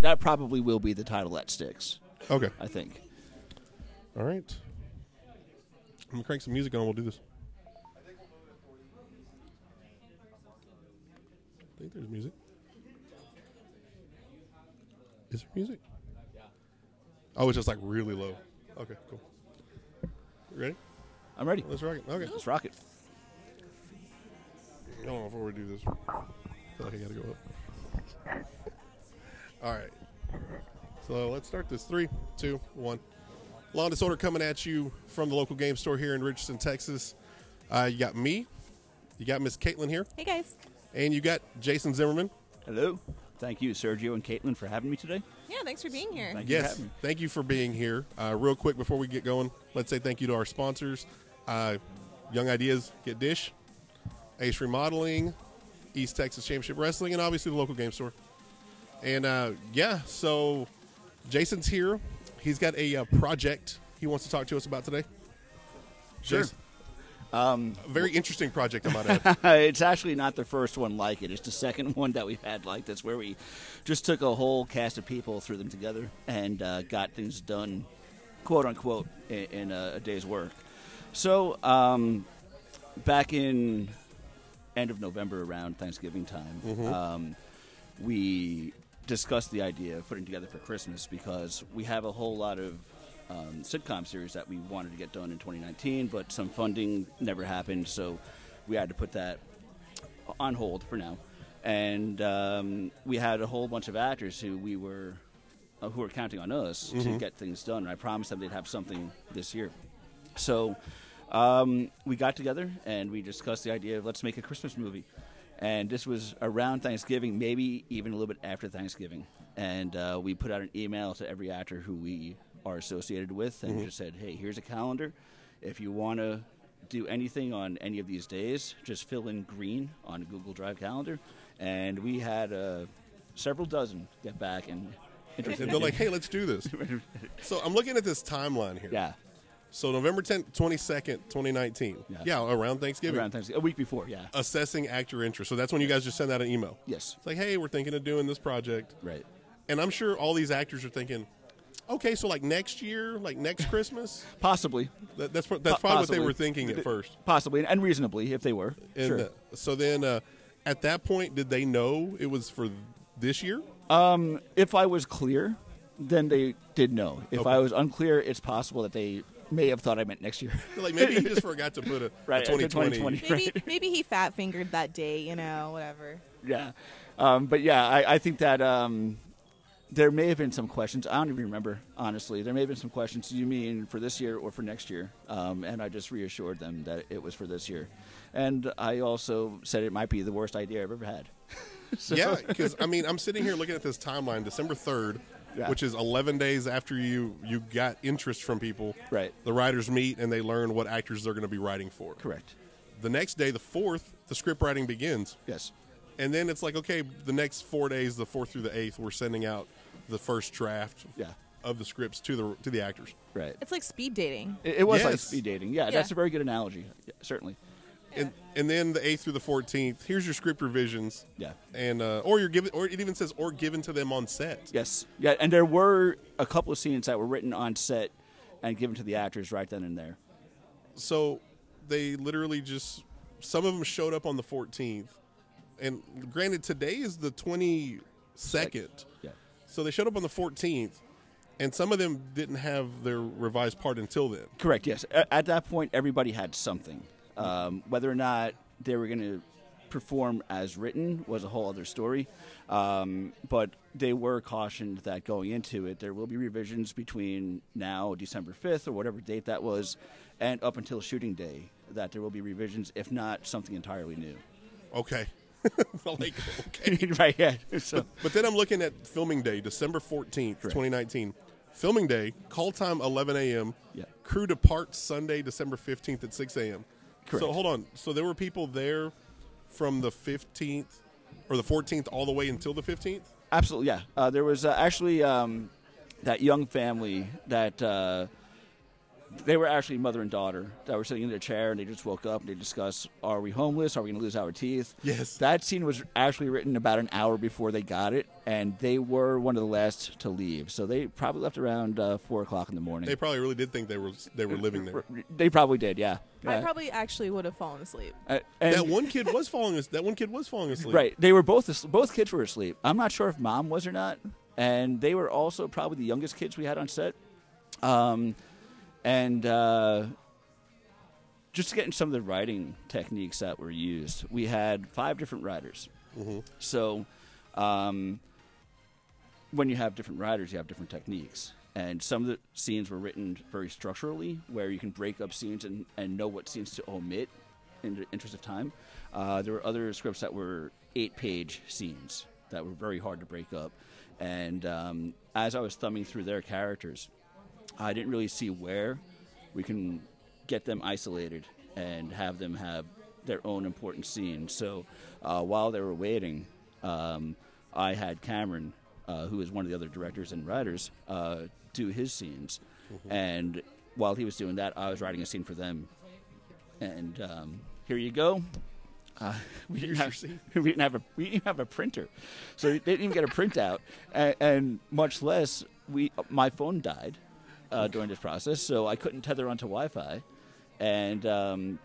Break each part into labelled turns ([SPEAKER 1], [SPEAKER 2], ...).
[SPEAKER 1] that probably will be the title that sticks.
[SPEAKER 2] Okay.
[SPEAKER 1] I think.
[SPEAKER 2] All right. I'm gonna crank some music on. We'll do this. I think there's music. Is there music? Oh, it's just like really low. Okay, cool. Ready?
[SPEAKER 1] I'm ready.
[SPEAKER 2] Let's rock it. Okay.
[SPEAKER 1] Let's rock it.
[SPEAKER 2] Hold on before we do this. I feel like I gotta go up. All right. So let's start this. Three, two, one. Law and Disorder coming at you from the local game store here in Richardson, Texas. Uh, you got me, you got Miss Caitlin here,
[SPEAKER 3] Hey guys.
[SPEAKER 2] and you got Jason Zimmerman.
[SPEAKER 1] Hello. Thank you, Sergio and Caitlin, for having me today.
[SPEAKER 3] Yeah, thanks for being here.
[SPEAKER 1] Thank you for
[SPEAKER 2] Yes,
[SPEAKER 1] having me.
[SPEAKER 2] thank you for being here. Uh, real quick before we get going, let's say thank you to our sponsors: uh, Young Ideas, Get Dish, Ace Remodeling, East Texas Championship Wrestling, and obviously the local game store. And uh, yeah, so Jason's here. He's got a uh, project he wants to talk to us about today.
[SPEAKER 1] Sure. Um,
[SPEAKER 2] a very interesting project, I might add.
[SPEAKER 1] Uh, it's actually not the first one like it. It's the second one that we've had like this, where we just took a whole cast of people, threw them together, and uh, got things done, quote unquote, in, in a, a day's work. So, um, back in end of November, around Thanksgiving time, um, we discussed the idea of putting together for Christmas because we have a whole lot of um, sitcom series that we wanted to get done in 2019, but some funding never happened, so we had to put that on hold for now. And um, we had a whole bunch of actors who we were uh, who were counting on us to get things done. And I promised them they'd have something this year. So um, we got together and we discussed the idea of let's make a Christmas movie. And this was around Thanksgiving, maybe even a little bit after Thanksgiving. And uh, we put out an email to every actor who we are associated with and just said, hey, here's a calendar. If you want to do anything on any of these days, just fill in green on a Google Drive calendar. And we had uh, several dozen get back and
[SPEAKER 2] and they're like, "Hey, let's do this." So I'm looking at this timeline here.
[SPEAKER 1] yeah.
[SPEAKER 2] So November 10th, 22nd, 2019.
[SPEAKER 1] Yeah.
[SPEAKER 2] around Thanksgiving.
[SPEAKER 1] around Thanksgiving, a week before. Yeah,
[SPEAKER 2] Uh, assessing actor interest. So that's when you guys just send out an email.
[SPEAKER 1] Yes.
[SPEAKER 2] It's like, hey, we're thinking of doing this project.
[SPEAKER 1] right.
[SPEAKER 2] And I'm sure all these actors are thinking, okay, so like next year, like next Christmas.
[SPEAKER 1] Possibly,
[SPEAKER 2] That, that's pro- that's
[SPEAKER 1] Po-
[SPEAKER 2] probably what they
[SPEAKER 1] possibly.
[SPEAKER 2] were thinking at first.
[SPEAKER 1] possibly, and reasonably if they were.
[SPEAKER 2] And
[SPEAKER 1] sure.
[SPEAKER 2] uh, so then uh, at that point, did they know it was for this year?
[SPEAKER 1] if I was clear, then they did know. If
[SPEAKER 2] Okay.
[SPEAKER 1] I was unclear, it's possible that they may have thought I meant next year.
[SPEAKER 2] Like maybe he just forgot to put a,
[SPEAKER 1] Right,
[SPEAKER 2] a
[SPEAKER 1] the
[SPEAKER 2] 2020.
[SPEAKER 1] 2020.
[SPEAKER 3] Maybe maybe he fat fingered that day, you know, whatever.
[SPEAKER 1] yeah, um, but yeah, I, I think that. Um, there may have been some questions. I don't even remember, honestly. There may have been some questions. Do you mean for this year or for next year? Um, and I just reassured them that it was for this year. And I also said it might be the worst idea I've ever had.
[SPEAKER 2] Yeah, because I mean, I'm sitting here looking at this timeline, December 3rd.
[SPEAKER 1] Yeah.
[SPEAKER 2] Which is 11 days after you you got interest from people.
[SPEAKER 1] Right.
[SPEAKER 2] The writers meet and they learn what actors they're going to be writing for.
[SPEAKER 1] Correct.
[SPEAKER 2] The next day, the fourth, the script writing begins.
[SPEAKER 1] Yes.
[SPEAKER 2] And then it's like, okay, the next four days, the fourth through the eighth, we're sending out the first draft
[SPEAKER 1] Yeah.
[SPEAKER 2] of the scripts to the to the actors.
[SPEAKER 1] Right.
[SPEAKER 3] It's like speed dating.
[SPEAKER 1] It, it was like
[SPEAKER 2] Yes.
[SPEAKER 1] speed dating. Yeah,
[SPEAKER 3] Yeah.
[SPEAKER 1] that's a very good analogy. Yeah, certainly.
[SPEAKER 2] And and then the eighth through the fourteenth, here's your script revisions.
[SPEAKER 1] Yeah.
[SPEAKER 2] And uh, or you're given or it even says or given to them on set.
[SPEAKER 1] Yes. Yeah, and there were a couple of scenes that were written on set and given to the actors right then and there.
[SPEAKER 2] So they literally just some of them showed up on the fourteenth. And granted today is the twenty second.
[SPEAKER 1] Yeah.
[SPEAKER 2] So they showed up on the fourteenth and some of them didn't have their revised part until then.
[SPEAKER 1] Correct. Yes. A- At that point, everybody had something. Um, whether or not they were going to perform as written was a whole other story. Um, but they were cautioned that going into it, there will be revisions between now, December 5th, or whatever date that was, and up until shooting day, that there will be revisions, if not something entirely new.
[SPEAKER 2] Okay. like okay.
[SPEAKER 1] right. Yeah. So,
[SPEAKER 2] But then I'm looking at filming day, December 14th, 2019. Filming day, call time 11 a.m.
[SPEAKER 1] Yeah.
[SPEAKER 2] Crew departs Sunday, December 15th at 6 a.m. So
[SPEAKER 1] Correct.
[SPEAKER 2] hold on. So there were people there from the 15th or the 14th all the way until the 15th?
[SPEAKER 1] Absolutely, yeah. Uh, there was uh, actually um, that young family that uh, they were actually mother and daughter that were sitting in their chair and they just woke up and they discussed are we homeless are we going to lose our teeth
[SPEAKER 2] Yes.
[SPEAKER 1] that scene was actually written about an hour before they got it and they were one of the last to leave so they probably left around uh, four o'clock in the morning
[SPEAKER 2] They probably really did think they were they were living there.
[SPEAKER 1] They probably did yeah,
[SPEAKER 3] I
[SPEAKER 1] Yeah.
[SPEAKER 3] probably actually would have fallen asleep.
[SPEAKER 1] Uh, and-
[SPEAKER 2] That one kid was falling. as- That one kid was falling asleep.
[SPEAKER 1] Right. They were both as- both kids were asleep. I'm not sure if mom was or not, and they were also probably the youngest kids we had on set. Um, and uh, just getting some of the writing techniques that were used, we had five different writers. So, um, when you have different writers, you have different techniques. And some of the scenes were written very structurally, where you can break up scenes and, and know what scenes to omit in the interest of time. Uh, there were other scripts that were eight page scenes that were very hard to break up. And um, as I was thumbing through their characters, I didn't really see where we can get them isolated and have them have their own important scene. So uh, while they were waiting, um, I had Cameron, uh, who is one of the other directors and writers, uh, do his scenes. And while he was doing that, I was writing a scene for them. And um, here you go. Uh, we, didn't
[SPEAKER 2] Here's your
[SPEAKER 1] have,
[SPEAKER 2] scene.
[SPEAKER 1] we didn't have a we didn't even have a printer, so they didn't even get a printout, and, and much less we. My phone died uh, during this process, so I couldn't tether onto Wi-Fi, and um,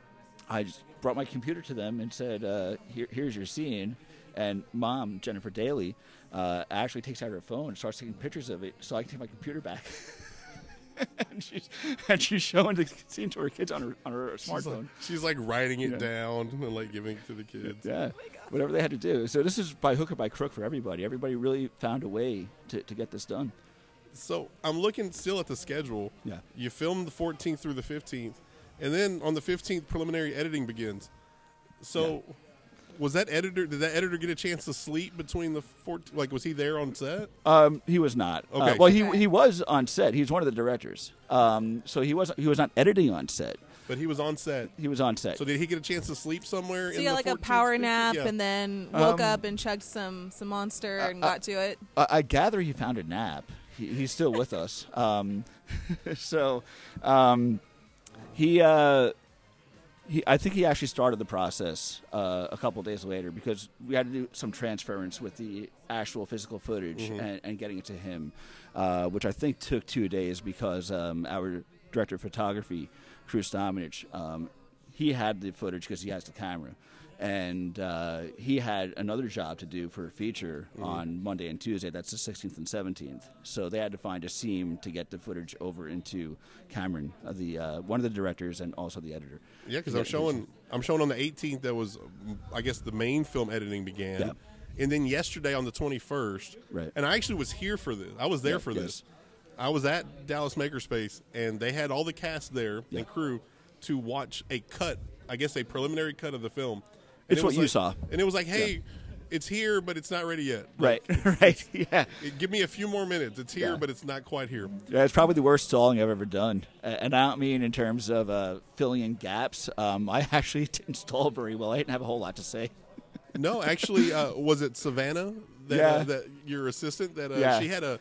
[SPEAKER 1] I just brought my computer to them and said, uh, Here, "Here's your scene." And mom, Jennifer Daly, uh, actually takes out her phone and starts taking pictures of it, so I can take my computer back. and, she's, and she's showing the scene to her kids on her on her
[SPEAKER 2] She's like,
[SPEAKER 1] smartphone.
[SPEAKER 2] she's like writing it down and like giving it to the kids.
[SPEAKER 1] Yeah, whatever they had to do. So this is by hook or by crook for everybody. Everybody really found a way to, to get this done.
[SPEAKER 2] So I'm looking still at the schedule.
[SPEAKER 1] Yeah.
[SPEAKER 2] You filmed the 14th through the 15th, and then on the 15th, preliminary editing begins. So, was that editor? Did that editor get a chance to sleep between the 14? Like, was he there on set?
[SPEAKER 1] Um, he was not. Uh,
[SPEAKER 2] Okay.
[SPEAKER 1] well, he,
[SPEAKER 3] Okay.
[SPEAKER 1] he was on set. He's one of the directors. Um, so he was he was not editing on set.
[SPEAKER 2] But he was on set.
[SPEAKER 1] He was on set.
[SPEAKER 2] So did he get a chance to sleep somewhere?
[SPEAKER 3] So
[SPEAKER 2] in
[SPEAKER 3] you had
[SPEAKER 2] the
[SPEAKER 3] like a
[SPEAKER 2] 14th,
[SPEAKER 3] power
[SPEAKER 2] 15th?
[SPEAKER 3] nap
[SPEAKER 2] Yeah.
[SPEAKER 3] and then woke
[SPEAKER 1] Um,
[SPEAKER 3] up and chugged some some monster and got to it.
[SPEAKER 1] I, I gather he found a nap. He, he's still with us. Um, so um, he, uh, he, I think he actually started the process uh, a couple days later because we had to do some transference with the actual physical footage and, and getting it to him, uh, which I think took two days because um, our director of photography, Cruz Dominich, um, he had the footage because he has the camera. And uh, he had another job to do for a feature on Monday and Tuesday. That's the 16th and 17th. So they had to find a seam to get the footage over into Cameron, uh, the uh, one of the directors and also the editor.
[SPEAKER 2] Yeah, because I'm showing I'm showing on the 18th that was um, I guess the main film editing began,
[SPEAKER 1] Yeah.
[SPEAKER 2] and then yesterday on the 21st.
[SPEAKER 1] Right.
[SPEAKER 2] And I actually was here for this. I was there
[SPEAKER 1] Yeah,
[SPEAKER 2] for
[SPEAKER 1] yes.
[SPEAKER 2] this. I was at Dallas Makerspace, and they had all the cast there
[SPEAKER 1] Yeah.
[SPEAKER 2] and crew to watch a cut. I guess a preliminary cut of the film. And
[SPEAKER 1] It's
[SPEAKER 2] it
[SPEAKER 1] what
[SPEAKER 2] was
[SPEAKER 1] you
[SPEAKER 2] like-
[SPEAKER 1] saw.
[SPEAKER 2] And it was like, hey, it's here, but it's not ready yet.
[SPEAKER 1] Right, right, yeah.
[SPEAKER 2] It- give me a few more minutes. It's here,
[SPEAKER 1] Yeah.
[SPEAKER 2] but it's not quite here.
[SPEAKER 1] yeah. It's probably the worst stalling I've ever done, A- and I don't mean in terms of uh, filling in gaps. Um, I actually didn't stall very well. I didn't have a whole lot to say.
[SPEAKER 2] No, actually, uh, was it Savannah? That, uh,
[SPEAKER 1] Yeah.
[SPEAKER 2] that your assistant that uh,
[SPEAKER 1] Yeah.
[SPEAKER 2] she had a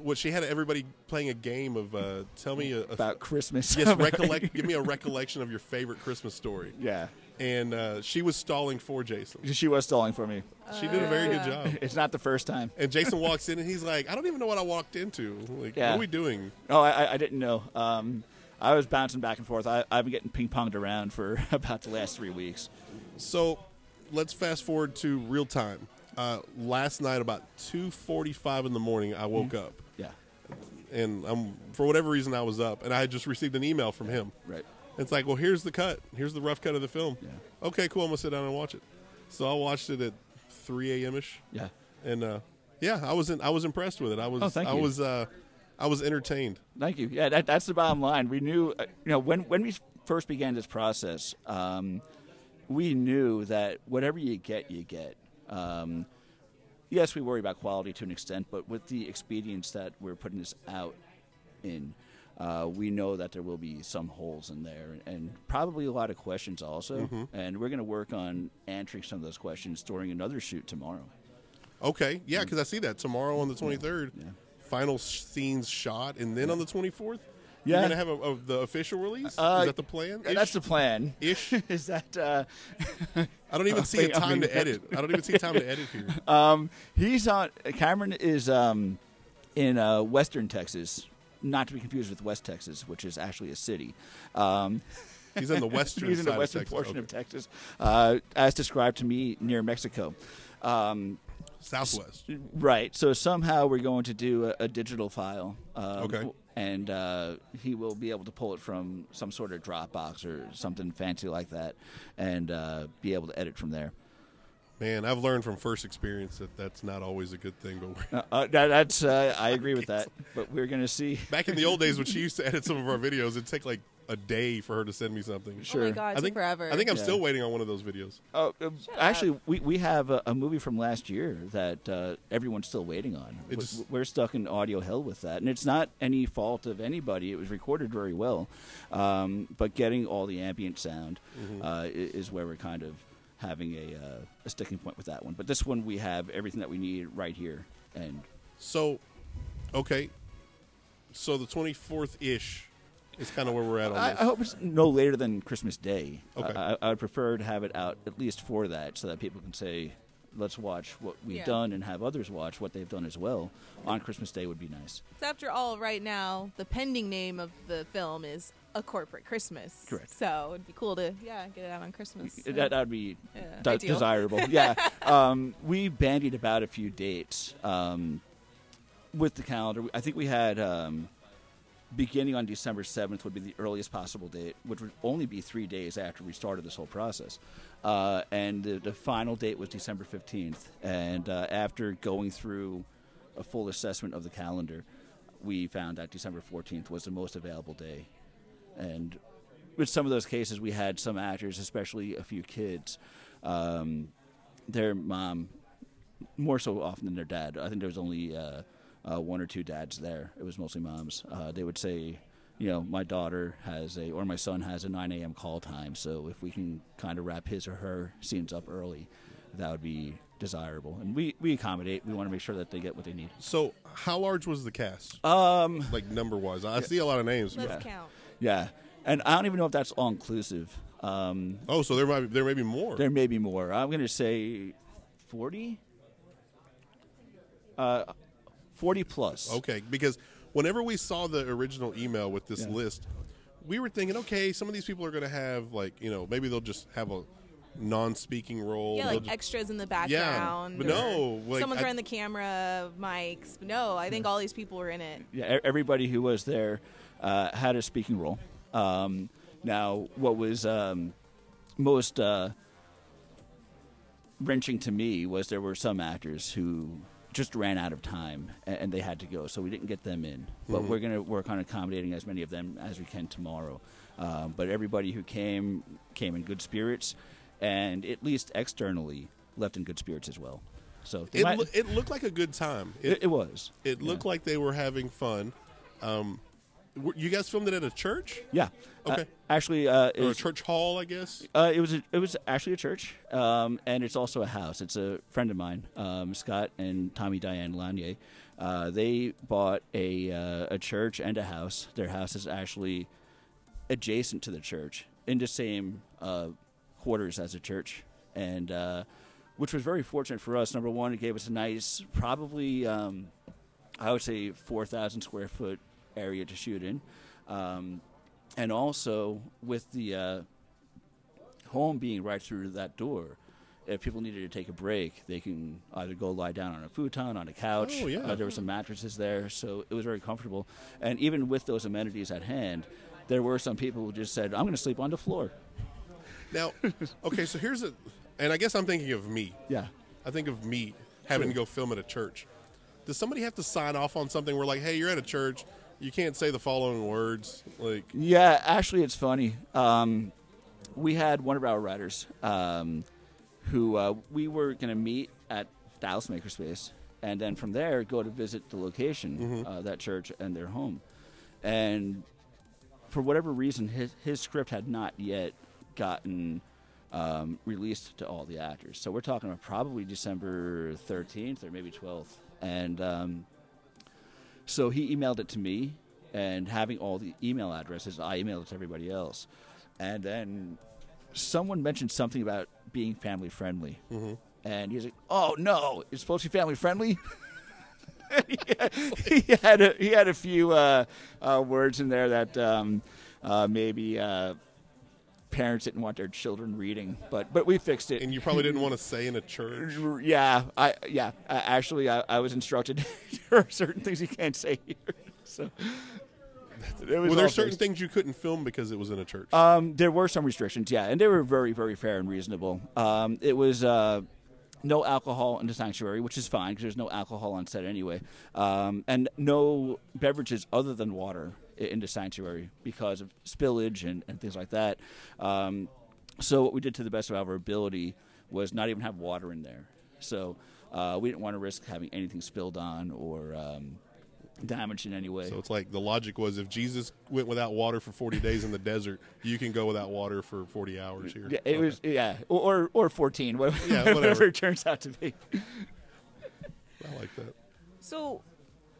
[SPEAKER 2] what she had everybody playing a game of uh, tell me a, a-
[SPEAKER 1] About Christmas.
[SPEAKER 2] yes recollect give me a recollection of your favorite Christmas story.
[SPEAKER 1] Yeah,
[SPEAKER 2] And uh, she was stalling for Jason.
[SPEAKER 1] she was stalling for me.
[SPEAKER 2] She did a very good job.
[SPEAKER 1] It's not the first time.
[SPEAKER 2] And Jason walks in and he's like, I don't even know what I walked into. Like,
[SPEAKER 1] Yeah.
[SPEAKER 2] what are we doing?
[SPEAKER 1] Oh, I, I- I didn't know. Um, I was bouncing back and forth. I, I've been getting ping ponged around for about the last three weeks.
[SPEAKER 2] So let's fast forward to real time. Uh, last night, about two forty-five in the morning, I woke up.
[SPEAKER 1] Yeah,
[SPEAKER 2] and I'm for whatever reason I was up, and I had just received an email from him.
[SPEAKER 1] right.
[SPEAKER 2] It's like, well, here's the cut. Here's the rough cut of the film.
[SPEAKER 1] Yeah.
[SPEAKER 2] Okay, cool. I'm gonna sit down and watch it. So I watched it at 3 a.m. ish,
[SPEAKER 1] Yeah,
[SPEAKER 2] and uh, yeah, I was in, I was impressed with it. I was
[SPEAKER 1] Oh, thank
[SPEAKER 2] I
[SPEAKER 1] you.
[SPEAKER 2] was uh, I was entertained.
[SPEAKER 1] thank you. Yeah, that, that's the bottom line. We knew, uh, you know, when when we first began this process, um, we knew that whatever you get, you get. Um, yes, we worry about quality to an extent, but with the expedience that we're putting this out in, uh, we know that there will be some holes in there and probably a lot of questions also. And we're going to work on answering some of those questions during another shoot tomorrow.
[SPEAKER 2] Okay, yeah, because I see that tomorrow on the 23rd, final scenes shot, and then on the 24th, You're
[SPEAKER 1] Yeah.
[SPEAKER 2] gonna have a, a, the official release.
[SPEAKER 1] Uh,
[SPEAKER 2] Is that the plan?
[SPEAKER 1] That's the plan.
[SPEAKER 2] ish.
[SPEAKER 1] Is that uh,
[SPEAKER 2] I don't even see a
[SPEAKER 1] Wait, I
[SPEAKER 2] time
[SPEAKER 1] mean-
[SPEAKER 2] to edit. I don't even see time to edit here.
[SPEAKER 1] um, he's on Cameron is um, in uh, Western Texas, not to be confused with West Texas, which is actually a city. Um,
[SPEAKER 2] He's on the western.
[SPEAKER 1] he's in the
[SPEAKER 2] side
[SPEAKER 1] western
[SPEAKER 2] of Texas.
[SPEAKER 1] portion
[SPEAKER 2] Okay.
[SPEAKER 1] of Texas, uh, as described to me near Mexico. Um,
[SPEAKER 2] Southwest.
[SPEAKER 1] Right. So somehow we're going to do a, a digital file. Um,
[SPEAKER 2] Okay.
[SPEAKER 1] And uh, he will be able to pull it from some sort of Dropbox or something fancy like that, and uh, be able to edit from there.
[SPEAKER 2] Man, I've learned from first experience that that's not always a good thing. But we're,
[SPEAKER 1] Uh, uh, that, that's uh, I agree with that. But we're going to see.
[SPEAKER 2] back in the old days when she used to edit some of our videos, it'd take like a day for her to send me something.
[SPEAKER 1] Sure.
[SPEAKER 3] Oh my god,
[SPEAKER 2] I think
[SPEAKER 3] forever.
[SPEAKER 2] I think I'm
[SPEAKER 1] Yeah.
[SPEAKER 2] still waiting on one of those videos.
[SPEAKER 1] Oh, uh, actually, we, we have a, a movie from last year that uh, everyone's still waiting on.
[SPEAKER 2] It
[SPEAKER 1] We-
[SPEAKER 2] just-
[SPEAKER 1] We're stuck in audio hell with that, and it's not any fault of anybody. It was recorded very well, um, but getting all the ambient sound
[SPEAKER 2] Mm-hmm.
[SPEAKER 1] uh, i- is where we're kind of having a, uh, a sticking point with that one. But this one, we have everything that we need right here, and
[SPEAKER 2] So, okay. So the 24th ish is kind of where we're at on
[SPEAKER 1] I,
[SPEAKER 2] this.
[SPEAKER 1] I hope it's no later than Christmas Day.
[SPEAKER 2] Okay.
[SPEAKER 1] I, I- I would prefer to have it out at least for that, so that people can say, "Let's watch what we've
[SPEAKER 3] Yeah.
[SPEAKER 1] done," and have others watch what they've done as well. On Christmas Day would be nice.
[SPEAKER 3] So after all, right now the pending name of the film is A Corporate Christmas.
[SPEAKER 1] Correct.
[SPEAKER 3] So it'd be cool to yeah get it out on Christmas.
[SPEAKER 1] That that would be
[SPEAKER 3] Yeah.
[SPEAKER 1] de-
[SPEAKER 3] Ideal.
[SPEAKER 1] desirable. yeah. Um, we bandied about a few dates um, with the calendar. I think we had um, beginning on December 7th would be the earliest possible date, which would only be three days after we started this whole process. Uh, and the, the final date was December 15th. And uh, after going through a full assessment of the calendar, we found out December 14th was the most available day. And with some of those cases, we had some actors, especially a few kids, um, their mom more so often than their dad. I think there was only uh, uh, one or two dads there. It was mostly moms. Uh, they would say, you know, my daughter has a or my son has a 9 a.m. call time, so if we can kind of wrap his or her scenes up early, that would be desirable. And we we accommodate. We want to make sure that they get what they need.
[SPEAKER 2] so, how large was the cast?
[SPEAKER 1] Um,
[SPEAKER 2] like number wise, I see a lot of names.
[SPEAKER 3] Let's
[SPEAKER 1] Yeah.
[SPEAKER 3] count.
[SPEAKER 1] yeah, and I don't even know if that's all inclusive. Um,
[SPEAKER 2] Oh, so there might be, there may be more.
[SPEAKER 1] There may be more. I'm going to say 40. Uh, 40 Uh, plus.
[SPEAKER 2] Okay, because whenever we saw the original email with this
[SPEAKER 1] Yeah.
[SPEAKER 2] list, we were thinking, okay, some of these people are going to have like you know maybe they'll just have a non-speaking role.
[SPEAKER 3] Yeah,
[SPEAKER 2] They'll
[SPEAKER 3] like
[SPEAKER 2] ju-
[SPEAKER 3] extras in the background.
[SPEAKER 2] but
[SPEAKER 3] or
[SPEAKER 2] no, like,
[SPEAKER 3] someone's
[SPEAKER 2] I-
[SPEAKER 3] running the camera, mics. But no, I think all these people were in it.
[SPEAKER 1] Yeah, e- everybody who was there uh, had a speaking role. Um, now, what was um, most uh, wrenching to me was there were some actors who just ran out of time and, and they had to go, so we didn't get them in. But
[SPEAKER 2] Mm-hmm.
[SPEAKER 1] we're going to work on accommodating as many of them as we can tomorrow. Um, but everybody who came came in good spirits, and at least externally left in good spirits as well. So they
[SPEAKER 2] it,
[SPEAKER 1] might-
[SPEAKER 2] loo- it looked like a good time. It,
[SPEAKER 1] it, it was.
[SPEAKER 2] it looked like they were having fun. Um, were- you guys filmed it at a church
[SPEAKER 1] Yeah. Uh,
[SPEAKER 2] Okay.
[SPEAKER 1] actually, uh, it
[SPEAKER 2] or a
[SPEAKER 1] was,
[SPEAKER 2] church hall, I guess.
[SPEAKER 1] uh, it was a, it was actually a church, um, and it's also a house. It's a friend of mine, um, Scott and Tommy Diane Lanier. Uh, they bought a uh, a church and a house. Their house is actually adjacent to the church in the same uh, quarters as a church, and uh, which was very fortunate for us. Number one, it gave us a nice, probably um, I would say four thousand square foot area to shoot in, um, and also with the uh, home being right through that door. If people needed to take a break, they can either go lie down on a futon, on a couch.
[SPEAKER 2] Oh, yeah.
[SPEAKER 1] Uh, there were some mattresses there, so it was very comfortable. And even with those amenities at hand, there were some people who just said, "I'm going to sleep on the floor."
[SPEAKER 2] Now, okay, so here's a, and I guess I'm thinking of me.
[SPEAKER 1] Yeah,
[SPEAKER 2] I think of me having to go film at a church. Does somebody have to sign off on something? We're like, hey, you're at a church. You can't say the following words. Like,
[SPEAKER 1] yeah. Actually, it's funny. Um, we had one of our writers um, who uh, we were going to meet at Dallas Makerspace, and then from there go to visit the location, uh, that church, and their home. And for whatever reason, his, his script had not yet gotten um, released to all the actors. So we're talking about probably December 13th or maybe 12th. And um, so he emailed it to me, and having all the email addresses. I emailed it to everybody else, and then someone mentioned something about being family friendly, and he's like, "Oh no, it's supposed to be family friendly." he had a, he had a few uh, uh, words in there that um, uh, maybe uh, parents didn't want their children reading, but but we fixed it.
[SPEAKER 2] And you probably didn't want to say in a church.
[SPEAKER 1] yeah, I yeah. I, actually, I, I was instructed there are certain things you can't say here. So there
[SPEAKER 2] Well, there's certain things you couldn't film because it was in a church.
[SPEAKER 1] um, there were some restrictions, yeah, and they were very, very fair and reasonable. Um, it was uh, no alcohol in the sanctuary, which is fine because there's no alcohol on set anyway, um, and no beverages other than water i- in the sanctuary because of spillage and, and things like that. Um, so what we did to the best of our ability was not even have water in there. So uh, we didn't want to risk having anything spilled on or um, damaged in any way.
[SPEAKER 2] so it's like the logic was if Jesus went without water for 40 days in the desert, you can go without water for 40 hours here.
[SPEAKER 1] Yeah, it was yeah, or or fourteen, whatever,
[SPEAKER 2] Yeah,
[SPEAKER 1] whatever
[SPEAKER 2] whatever.
[SPEAKER 1] it turns out to be.
[SPEAKER 2] I like that.
[SPEAKER 3] So,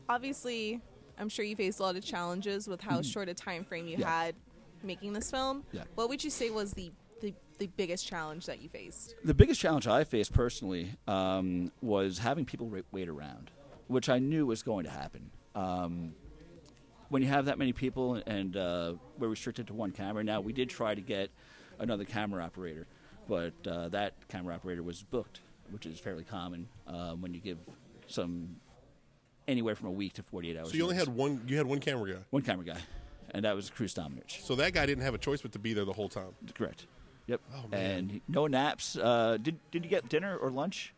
[SPEAKER 3] obviously, I'm sure you faced a lot of challenges with how short a time frame you
[SPEAKER 1] Mm-hmm. Yeah.
[SPEAKER 3] had making this film.
[SPEAKER 1] Yeah.
[SPEAKER 3] What would you say was the, the the biggest challenge that you faced?
[SPEAKER 1] The biggest challenge I faced personally um, was having people ra- wait around, which I knew was going to happen. Um, when you have that many people and uh, we're restricted to one camera now, we did try to get another camera operator, but uh, that camera operator was booked, which is fairly common uh, when you give some anywhere from a week to 48 hours.
[SPEAKER 2] So you only
[SPEAKER 1] notice.
[SPEAKER 2] had one. You had one camera guy.
[SPEAKER 1] one camera guy, and that was Cruz Dominich.
[SPEAKER 2] So that guy didn't have a choice but to be there the whole time.
[SPEAKER 1] Correct. Yep.
[SPEAKER 2] Oh, man.
[SPEAKER 1] And no naps. Uh, did Did you get dinner or lunch?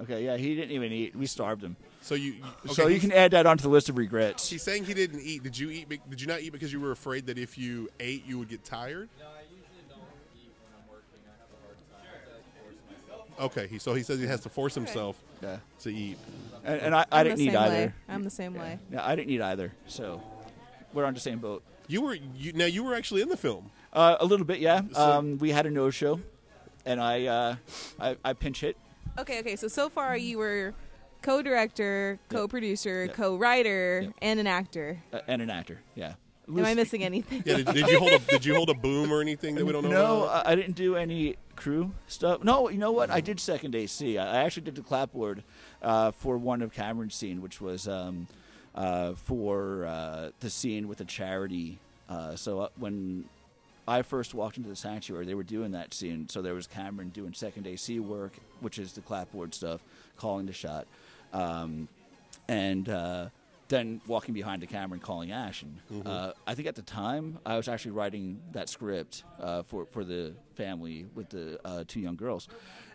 [SPEAKER 1] Okay. Yeah, he didn't even eat. We starved him.
[SPEAKER 2] So you. you- okay,
[SPEAKER 1] so you
[SPEAKER 2] he's-
[SPEAKER 1] can add that onto the list of regrets.
[SPEAKER 2] He's saying he didn't eat. Did you eat? be- Did you not eat because you were afraid that if you ate, you would get tired?
[SPEAKER 4] No, I usually don't eat when I'm working. I have a hard time. I have to force myself.
[SPEAKER 2] Okay. He, so he says he has to force himself
[SPEAKER 1] Yeah.
[SPEAKER 2] to eat.
[SPEAKER 1] Uh, And, and I, I
[SPEAKER 3] I'm
[SPEAKER 1] didn't
[SPEAKER 3] the
[SPEAKER 1] eat
[SPEAKER 3] same
[SPEAKER 1] either.
[SPEAKER 3] Way. I'm the same way.
[SPEAKER 1] Yeah, I didn't eat either. So we're on the same boat.
[SPEAKER 2] You were. You, now you were actually in the film.
[SPEAKER 1] Uh, a little bit, yeah.
[SPEAKER 2] So-
[SPEAKER 1] um, we had a no show, and I, uh, I I pinch hit.
[SPEAKER 3] Okay, okay. So so far you were co-director, co-producer,
[SPEAKER 1] Mm-hmm. Yep.
[SPEAKER 3] co-writer,
[SPEAKER 1] Yep.
[SPEAKER 3] and an actor.
[SPEAKER 1] uh, and an actor. Yeah.
[SPEAKER 3] Am I
[SPEAKER 1] Lucy-
[SPEAKER 3] missing anything?
[SPEAKER 2] Yeah. Did, did you hold? A, did you hold a boom or anything that we don't know?
[SPEAKER 1] No,
[SPEAKER 3] uh,
[SPEAKER 2] about?
[SPEAKER 1] I I didn't do any crew stuff. No, you know what? I did second AC. I I actually did the clapboard uh, for one of Cameron's scene, which was um, uh, for uh, the scene with the charity. Uh, so uh, when I first walked into the sanctuary, they were doing that scene. So there was Cameron doing second AC work, which is the clapboard stuff, calling the shot. Um, and uh, then walking behind the camera and calling Ash. And uh, I think at the time I was actually writing that script uh, for for the family with the uh, two young girls,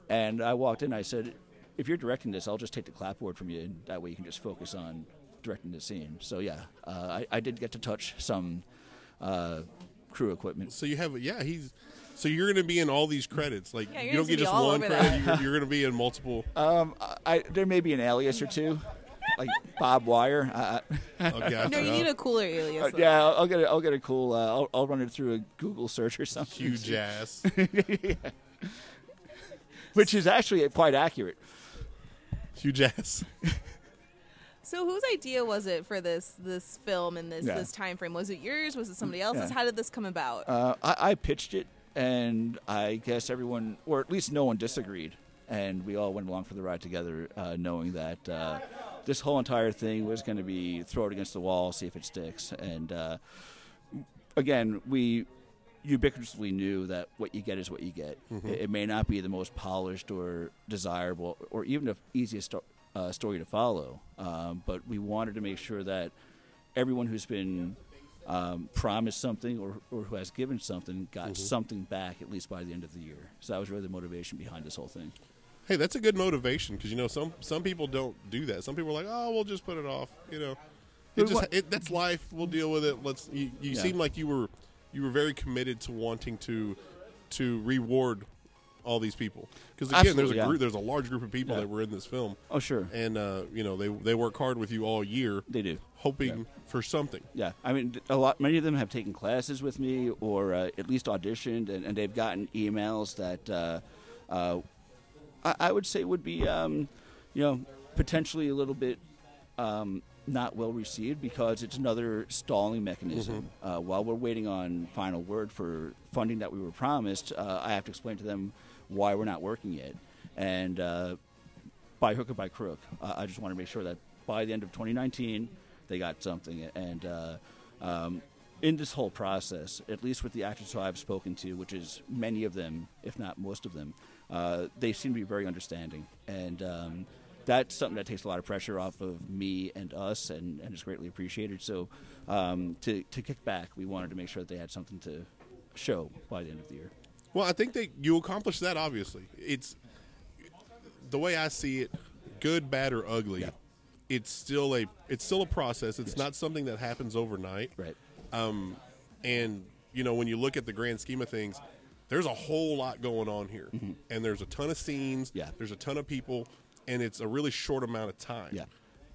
[SPEAKER 1] and I walked in. I said, "If you're directing this, I'll just take the clapboard from you, and that way you can just focus on directing the scene." So yeah, uh, I, I did get to touch some uh, crew equipment.
[SPEAKER 2] So you have. Yeah. He's. So you're going to be in all these credits. Like
[SPEAKER 3] Yeah, you're
[SPEAKER 2] you don't
[SPEAKER 3] just
[SPEAKER 2] get just
[SPEAKER 3] gonna be all
[SPEAKER 2] one
[SPEAKER 3] over
[SPEAKER 2] credit. You're, you're going to be in multiple. uh,
[SPEAKER 1] Um, I, I, there may be an alias or two, like Bob Wire. I, I,
[SPEAKER 2] Okay, I
[SPEAKER 3] No, you
[SPEAKER 2] forgot.
[SPEAKER 3] need a cooler alias.
[SPEAKER 1] Uh,
[SPEAKER 3] though.
[SPEAKER 1] yeah, I'll, I'll get it. I'll get a cool. Uh, I'll, I'll run it through a Google search or something.
[SPEAKER 2] huge ass.
[SPEAKER 1] which is actually quite accurate.
[SPEAKER 2] huge ass.
[SPEAKER 3] So whose idea was it for this this film and this
[SPEAKER 1] Yeah. Mm,
[SPEAKER 3] this time frame? Was it yours? Was it somebody else's?
[SPEAKER 1] yeah.
[SPEAKER 3] How did this come about?
[SPEAKER 1] Uh, I, I pitched it, and I guess everyone, or at least no one, disagreed, and we all went along for the ride together, uh, knowing that uh, this whole entire thing was going to be thrown against the wall, see if it sticks. And uh, again, we ubiquitously knew that what you get is what you get. It, it may not be the most polished or desirable, or even the easiest sto- uh, story to follow, um, but we wanted to make sure that everyone who's been um, promised something or, or who has given something got something back at least by the end of the year. So that was really the motivation behind this whole thing.
[SPEAKER 2] Hey, that's a good motivation because you know some some people don't do that. Some people are like, "Oh, we'll just put it off." You know,
[SPEAKER 1] But
[SPEAKER 2] it just
[SPEAKER 1] what-
[SPEAKER 2] it, that's life. We'll deal with it. Let's. You, you
[SPEAKER 1] Yeah.
[SPEAKER 2] seem like you were you were very committed to wanting to to reward all these people because again, there's a
[SPEAKER 1] Absolutely, yeah.
[SPEAKER 2] group, there's a large group of people
[SPEAKER 1] Yeah.
[SPEAKER 2] that were in this film,
[SPEAKER 1] Oh, sure.
[SPEAKER 2] and uh, you know they they work hard with you all year,
[SPEAKER 1] They do.
[SPEAKER 2] hoping
[SPEAKER 1] Yeah.
[SPEAKER 2] for something.
[SPEAKER 1] Yeah, I mean, a lot. Many of them have taken classes with me, or uh, at least auditioned, and, and they've gotten emails that uh, uh, I, I would say would be, um, you know, potentially a little bit um, not well received because it's another stalling mechanism. Uh, while we're waiting on final word for funding that we were promised, uh, I have to explain to them why we're not working yet. And uh, by hook or by crook, uh, I just want to make sure that by the end of 2019, they got something. And uh, um, in this whole process, at least with the actors who I've spoken to, which is many of them, if not most of them, uh, they seem to be very understanding. And um, that's something that takes a lot of pressure off of me and us, and, and is greatly appreciated. So um, to, to kick back, we wanted to make sure that they had something to show by the end of the year.
[SPEAKER 2] Well, I think that you accomplish that. Obviously, it's the way I see it, good, bad, or ugly.
[SPEAKER 1] Yeah.
[SPEAKER 2] It's still a it's still a process. It's not something that happens overnight.
[SPEAKER 1] Right.
[SPEAKER 2] And you know, when you look at the grand scheme of things, there's a whole lot going on here, and there's a ton of scenes.
[SPEAKER 1] Mm-hmm. Yeah.
[SPEAKER 2] There's a ton of people, and it's a really short amount of time.
[SPEAKER 1] Yeah.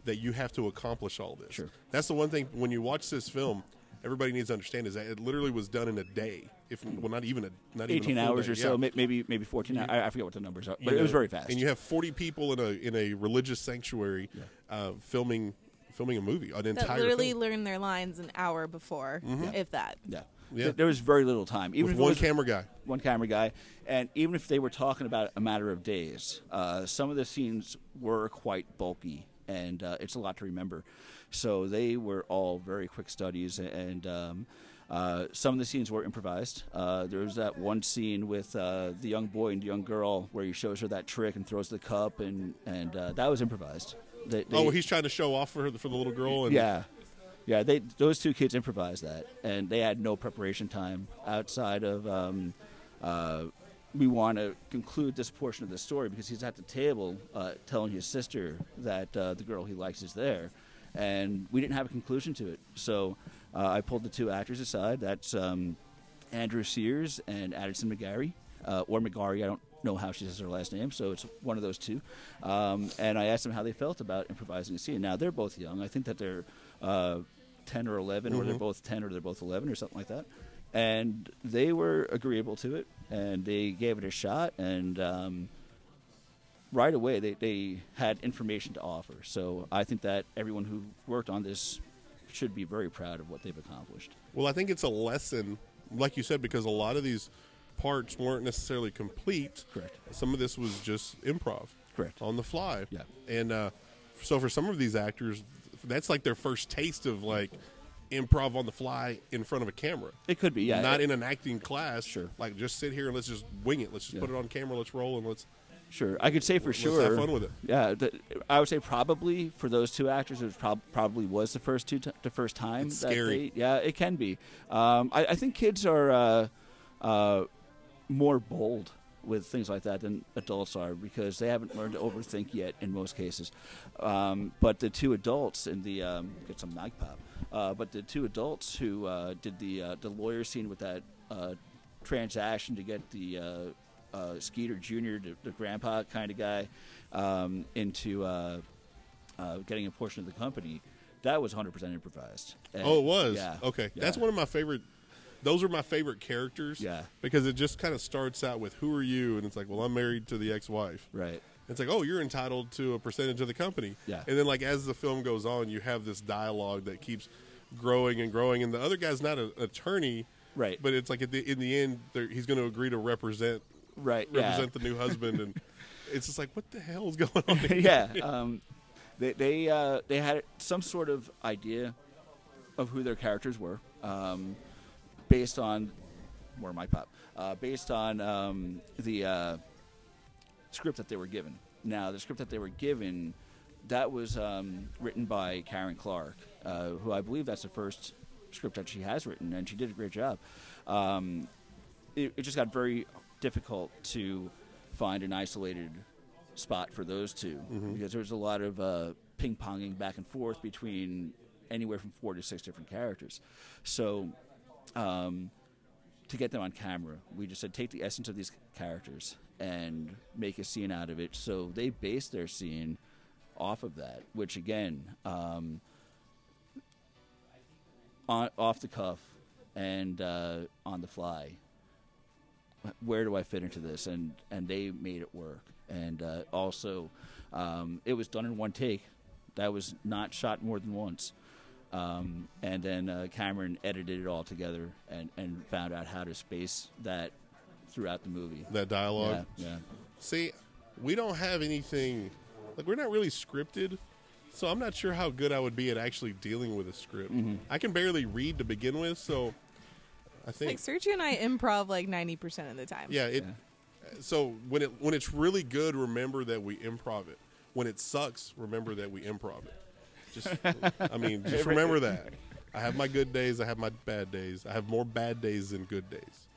[SPEAKER 2] That you have to accomplish all this.
[SPEAKER 1] Sure.
[SPEAKER 2] That's the one thing when you watch this film, everybody needs to understand is that it literally was done in a day. If well, not even a not even
[SPEAKER 1] 18
[SPEAKER 2] a full
[SPEAKER 1] hours
[SPEAKER 2] day.
[SPEAKER 1] or so,
[SPEAKER 2] Yeah. Mm-hmm.
[SPEAKER 1] may- maybe maybe 14 hours. I, I forget what the numbers are, but
[SPEAKER 2] you
[SPEAKER 1] it was
[SPEAKER 2] know,
[SPEAKER 1] very fast.
[SPEAKER 2] And you have forty people in a in a religious sanctuary, uh, filming filming a movie, an
[SPEAKER 3] that
[SPEAKER 2] entire
[SPEAKER 3] literally
[SPEAKER 2] film,
[SPEAKER 3] learned their lines an hour before, if that.
[SPEAKER 1] Mm-hmm. yeah.
[SPEAKER 2] Yeah.
[SPEAKER 1] Th- There was very little time. Even
[SPEAKER 2] with
[SPEAKER 1] if it
[SPEAKER 2] one
[SPEAKER 1] was-
[SPEAKER 2] camera guy.
[SPEAKER 1] one camera guy, and even if they were talking about a matter of days, uh, some of the scenes were quite bulky, and uh, it's a lot to remember. So they were all very quick studies, and um, uh, some of the scenes were improvised. Uh, there was that one scene with uh, the young boy and young girl where he shows her that trick and throws the cup, and and uh, that was improvised. They, they,
[SPEAKER 2] oh, well, he's trying to show off for her, for the little girl, and
[SPEAKER 1] yeah, yeah. They those two kids improvised that, and they had no preparation time outside of. Um, uh, we want to conclude this portion of the story because he's at the table uh, telling his sister that uh, the girl he likes is there, and we didn't have a conclusion to it. So uh, I pulled the two actors aside. That's um, Andrew Sears and Addison McGarry, uh, or McGarry. I don't know how she says her last name, so it's one of those two. Um, and I asked them how they felt about improvising a scene. Now they're both young. I think that they're uh, ten or 11 or
[SPEAKER 2] Mm-hmm.
[SPEAKER 1] they're both ten, or they're both eleven, or something like that. And they were agreeable to it, and they gave it a shot. And um, right away they, they had information to offer. So I think that everyone who worked on this should be very proud of what they've accomplished.
[SPEAKER 2] Well, I think it's a lesson, like you said, because a lot of these parts weren't necessarily complete.
[SPEAKER 1] Correct.
[SPEAKER 2] Some of this was just improv.
[SPEAKER 1] Correct.
[SPEAKER 2] On the fly.
[SPEAKER 1] Yeah.
[SPEAKER 2] And uh, so for some of these actors, that's like their first taste of like improv on the fly in front of a camera.
[SPEAKER 1] It could be, yeah.
[SPEAKER 2] Not
[SPEAKER 1] It-
[SPEAKER 2] in an acting class.
[SPEAKER 1] Sure.
[SPEAKER 2] Like just sit here and let's just wing it. Let's just
[SPEAKER 1] Yeah.
[SPEAKER 2] put it on camera. Let's roll and let's.
[SPEAKER 1] Sure, I could say for
[SPEAKER 2] Let's have
[SPEAKER 1] sure.
[SPEAKER 2] fun with it.
[SPEAKER 1] Yeah, th- I would say probably for those two actors, it was prob- probably was the first two t- the first time.
[SPEAKER 2] It's
[SPEAKER 1] that
[SPEAKER 2] scary.
[SPEAKER 1] they- yeah, it can be. Um, I, I think kids are uh, uh, more bold with things like that than adults are because they haven't learned to overthink yet in most cases. Um, but the two adults in the um, get some mag pop. Uh, but the two adults who uh, did the uh, the lawyer scene with that uh, transaction to get the uh, uh, Skeeter Jr., the, the grandpa kind of guy, um, into uh, uh, getting a portion of the company. That was 100% improvised. And-
[SPEAKER 2] Oh, it was.
[SPEAKER 1] Yeah.
[SPEAKER 2] Okay.
[SPEAKER 1] yeah.
[SPEAKER 2] That's one of my favorite. Those are my favorite characters.
[SPEAKER 1] Yeah.
[SPEAKER 2] Because it just kind of starts out with who are you, and it's like, well, I'm married to the ex-wife.
[SPEAKER 1] Right.
[SPEAKER 2] It's like, oh, you're entitled to a percentage of the company.
[SPEAKER 1] Yeah.
[SPEAKER 2] And then, like, as the film goes on, you have this dialogue that keeps growing and growing. And the other guy's not an attorney.
[SPEAKER 1] Right.
[SPEAKER 2] But it's like, at the, in the end, they're- he's going to agree to represent
[SPEAKER 1] Right. Yeah.
[SPEAKER 2] represent the new husband. And it's just like, what the hell is going on here?
[SPEAKER 1] yeah, um, they they uh, they had some sort of idea of who their characters were, um, based on more my pop, uh, based on um, the uh, script that they were given. Now, the script that they were given, that was um, written by Karen Clark, uh, who I believe that's the first script that she has written, and she did a great job. Um, it, it just got very difficult to find an isolated spot for those 2 because there was a lot of uh, ping ponging back and forth between anywhere from four to six different characters. So um, to get them on camera, we just said take the essence of these characters and make a scene out of it. So they based their scene off of that, which again, um, on, off the cuff and uh, on the fly. Where do I fit into this? And and they made it work. And uh, also, um, it was done in one take. That was not shot more than once. Um, and then uh, Cameron edited it all together and, and found out how to space that throughout the movie.
[SPEAKER 2] that dialogue.
[SPEAKER 1] Yeah, yeah.
[SPEAKER 2] See, we don't have anything like we're not really scripted, so I'm not sure how good I would be at actually dealing with a script.
[SPEAKER 1] Mm-hmm.
[SPEAKER 2] I can barely read to begin with, so I think
[SPEAKER 3] Like Sergio and I improv like ninety percent of the time.
[SPEAKER 2] yeah. It so when it when it's really good, remember that we improv it. When it sucks, remember that we improv it. Just I mean, just remember that. I have my good days. I have my bad days. I have more bad days than good days.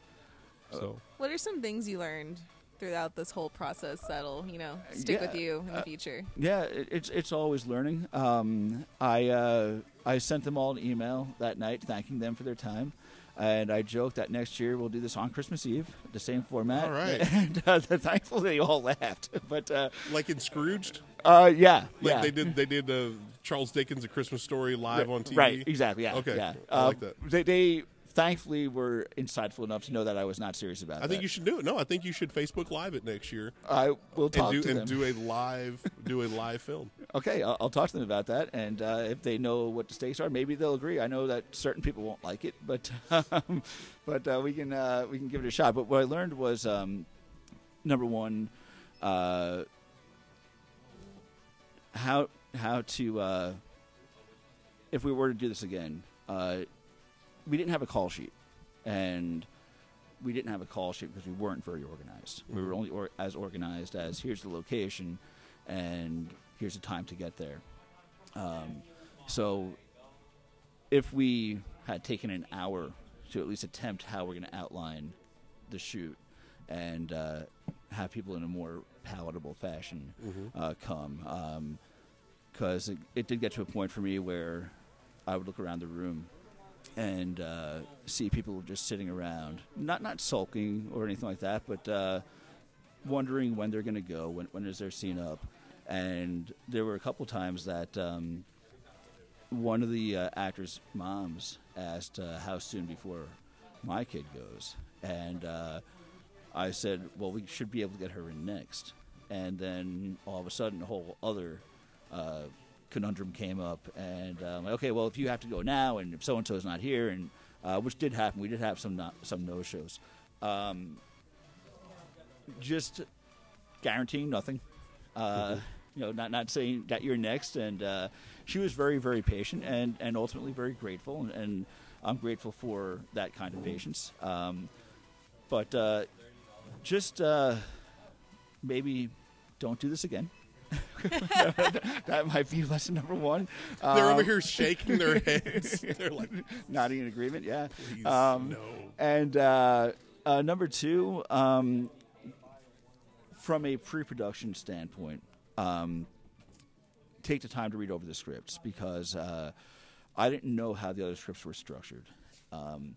[SPEAKER 2] So.
[SPEAKER 3] What are some things you learned throughout this whole process that'll you know stick
[SPEAKER 1] Yeah, Uh,
[SPEAKER 3] with you in the future?
[SPEAKER 1] Yeah, it, it's it's always learning. Um, I uh, I sent them all an email that night thanking them for their time, and I joked that next year we'll do this on Christmas Eve, the same format.
[SPEAKER 2] All right.
[SPEAKER 1] and uh, thankfully they all laughed. But uh,
[SPEAKER 2] like in Scrooged,
[SPEAKER 1] uh, yeah,
[SPEAKER 2] like
[SPEAKER 1] yeah.
[SPEAKER 2] they did they did the Charles Dickens A Christmas Story live on TV.
[SPEAKER 1] Right, exactly. Yeah.
[SPEAKER 2] Okay,
[SPEAKER 1] Yeah.
[SPEAKER 2] I like
[SPEAKER 1] Um,
[SPEAKER 2] that.
[SPEAKER 1] They, they thankfully were insightful enough to know that I was not serious about.
[SPEAKER 2] I think you should do it. No, I think you should Facebook Live it next year
[SPEAKER 1] I will
[SPEAKER 2] and
[SPEAKER 1] talk
[SPEAKER 2] do
[SPEAKER 1] to
[SPEAKER 2] and
[SPEAKER 1] them.
[SPEAKER 2] do a live do a live film.
[SPEAKER 1] okay, I'll, I'll talk to them about that, and uh, if they know what the stakes are, maybe they'll agree. I know that certain people won't like it, but um, but uh, we can uh, we can give it a shot. But what I learned was um, number one, uh, how how to uh, if we were to do this again, uh, we didn't have a call sheet, and we didn't have a call sheet because we weren't very organized. We were only or- as organized as here's the location, and here's the time to get there. Um, so, if we had taken an hour to at least attempt how we're going to outline the shoot and uh, have people in a more palatable fashion uh, come. Um, because it, it did get to a point for me where I would look around the room and uh, see people just sitting around, not not sulking or anything like that, but uh, wondering when they're going to go, when when is their scene up, and there were a couple times that. Um, one of the uh, actors' moms asked uh, how soon before my kid goes, and uh, I said, "Well, we should be able to get her in next." And then all of a sudden, a whole other uh, conundrum came up, and um, okay, well, if you have to go now, and if so and so is not here, and uh, which did happen, we did have some not, some no shows. Um, just guaranteeing nothing. Uh, You know, not not saying that you're next, and uh, she was very, very patient, and and ultimately very grateful, and, and I'm grateful for that kind of patience. Um, but uh, just uh, maybe don't do this again. that might be lesson number one. Uh,
[SPEAKER 2] They're over here shaking their heads. They're like,
[SPEAKER 1] nodding in agreement, yeah. Um,
[SPEAKER 2] Please, no.
[SPEAKER 1] And uh, uh, number two, um, from a pre-production standpoint, um, take the time to read over the scripts because uh, I didn't know how the other scripts were structured, um,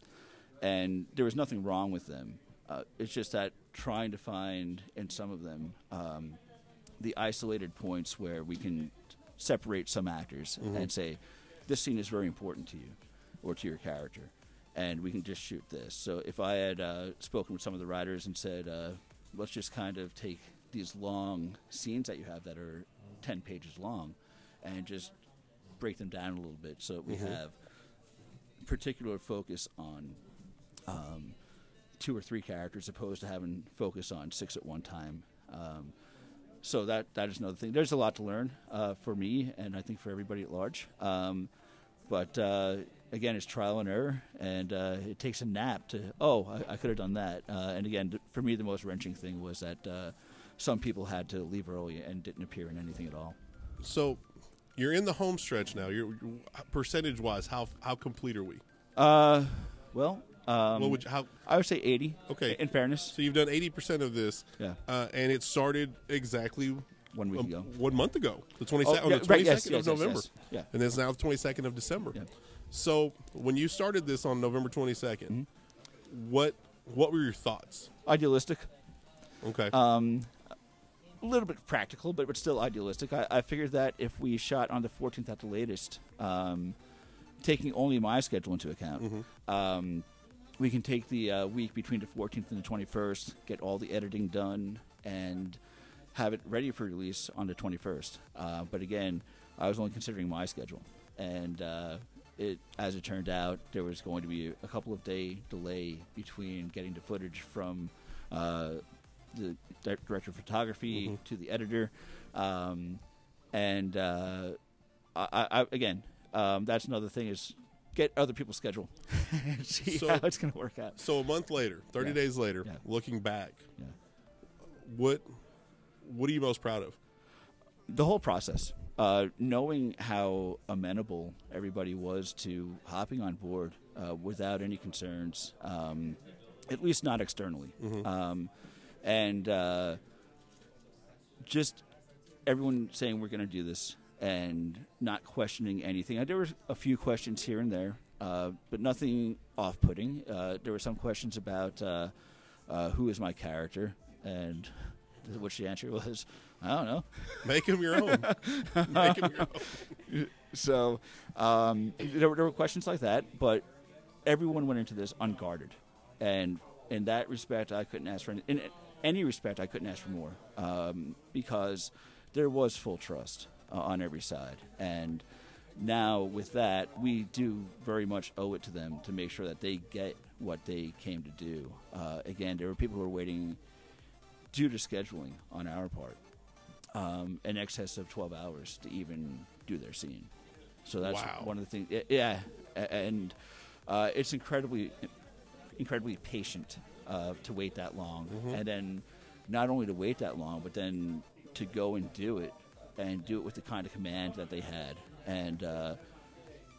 [SPEAKER 1] and there was nothing wrong with them. Uh, it's just that trying to find in some of them um, the isolated points where we can separate some actors and say, this scene is very important to you or to your character, and we can just shoot this. So if I had uh, spoken with some of the writers and said, uh, let's just kind of take these long scenes that you have that are 10 pages long and just break them down a little bit so that we have particular focus on um, two or three characters, opposed to having focus on six at one time. Um, so that that is another thing. There's a lot to learn uh, for me, and I think for everybody at large. Um, but uh, again, it's trial and error, and uh, it takes a nap to oh, I, I could have done that. Uh, and again, th- for me, the most wrenching thing was that uh, some people had to leave early and didn't appear in anything at all.
[SPEAKER 2] so you're in the home stretch now. You're percentage wise, how how complete are we?
[SPEAKER 1] Uh, well, um,
[SPEAKER 2] what would you, how?
[SPEAKER 1] I would say 80.
[SPEAKER 2] Okay.
[SPEAKER 1] In fairness,
[SPEAKER 2] So you've done eighty percent of this,
[SPEAKER 1] Yeah.
[SPEAKER 2] uh, and it started exactly
[SPEAKER 1] One week
[SPEAKER 2] a-
[SPEAKER 1] ago.
[SPEAKER 2] one month ago, the twenty
[SPEAKER 1] Oh,
[SPEAKER 2] second,
[SPEAKER 1] yeah,
[SPEAKER 2] the
[SPEAKER 1] right,
[SPEAKER 2] twenty second
[SPEAKER 1] yes,
[SPEAKER 2] of
[SPEAKER 1] yes, yes,
[SPEAKER 2] November,
[SPEAKER 1] yes. Yeah.
[SPEAKER 2] and it's now the twenty second of December.
[SPEAKER 1] Yeah.
[SPEAKER 2] So when you started this on November twenty
[SPEAKER 1] Mm-hmm.
[SPEAKER 2] what what were your thoughts?
[SPEAKER 1] idealistic.
[SPEAKER 2] Okay,
[SPEAKER 1] Um, a little bit practical, but, but still idealistic. I, I figured that if we shot on the 14th at the latest, um, taking only my schedule into account, um, we can take the uh, week between the 14th and the 21st, get all the editing done, and have it ready for release on the 21st. Uh, but again, I was only considering my schedule, and uh, it as it turned out, there was going to be a couple of day delay between getting the footage from uh, the di- director of photography to the editor, um, and uh, I, I, I- again, um, that's another thing is get other people's schedule, and see
[SPEAKER 2] So-
[SPEAKER 1] how it's going to work out.
[SPEAKER 2] So a month later, thirty
[SPEAKER 1] Yeah.
[SPEAKER 2] days later,
[SPEAKER 1] Yeah.
[SPEAKER 2] looking back,
[SPEAKER 1] Yeah.
[SPEAKER 2] what what are you most proud of?
[SPEAKER 1] the whole process uh, knowing how amenable everybody was to hopping on board uh, without any concerns um, at least not externally um, and uh, just everyone saying we're going to do this and not questioning anything. Uh, There were a few questions here and there, uh, but nothing off-putting. Uh, there were some questions about uh, uh, who is my character, and which the answer was, I don't know.
[SPEAKER 2] Make them your own. Make 'em your own.
[SPEAKER 1] So um, there, were, there were questions like that, but everyone went into this unguarded, and in that respect, I couldn't ask for any, in any respect I couldn't ask for more um, because there was full trust uh, on every side, and now with that, we do very much owe it to them to make sure that they get what they came to do. Uh, again, there were people who were waiting due to scheduling on our part um, in excess of 12 hours to even do their scene. So that's
[SPEAKER 2] Wow.
[SPEAKER 1] one of the things. y- Yeah, a- and uh, it's incredibly, incredibly patient uh, to wait that long, and then not only to wait that long, but then to go and do it, and do it with the kind of command that they had, and uh,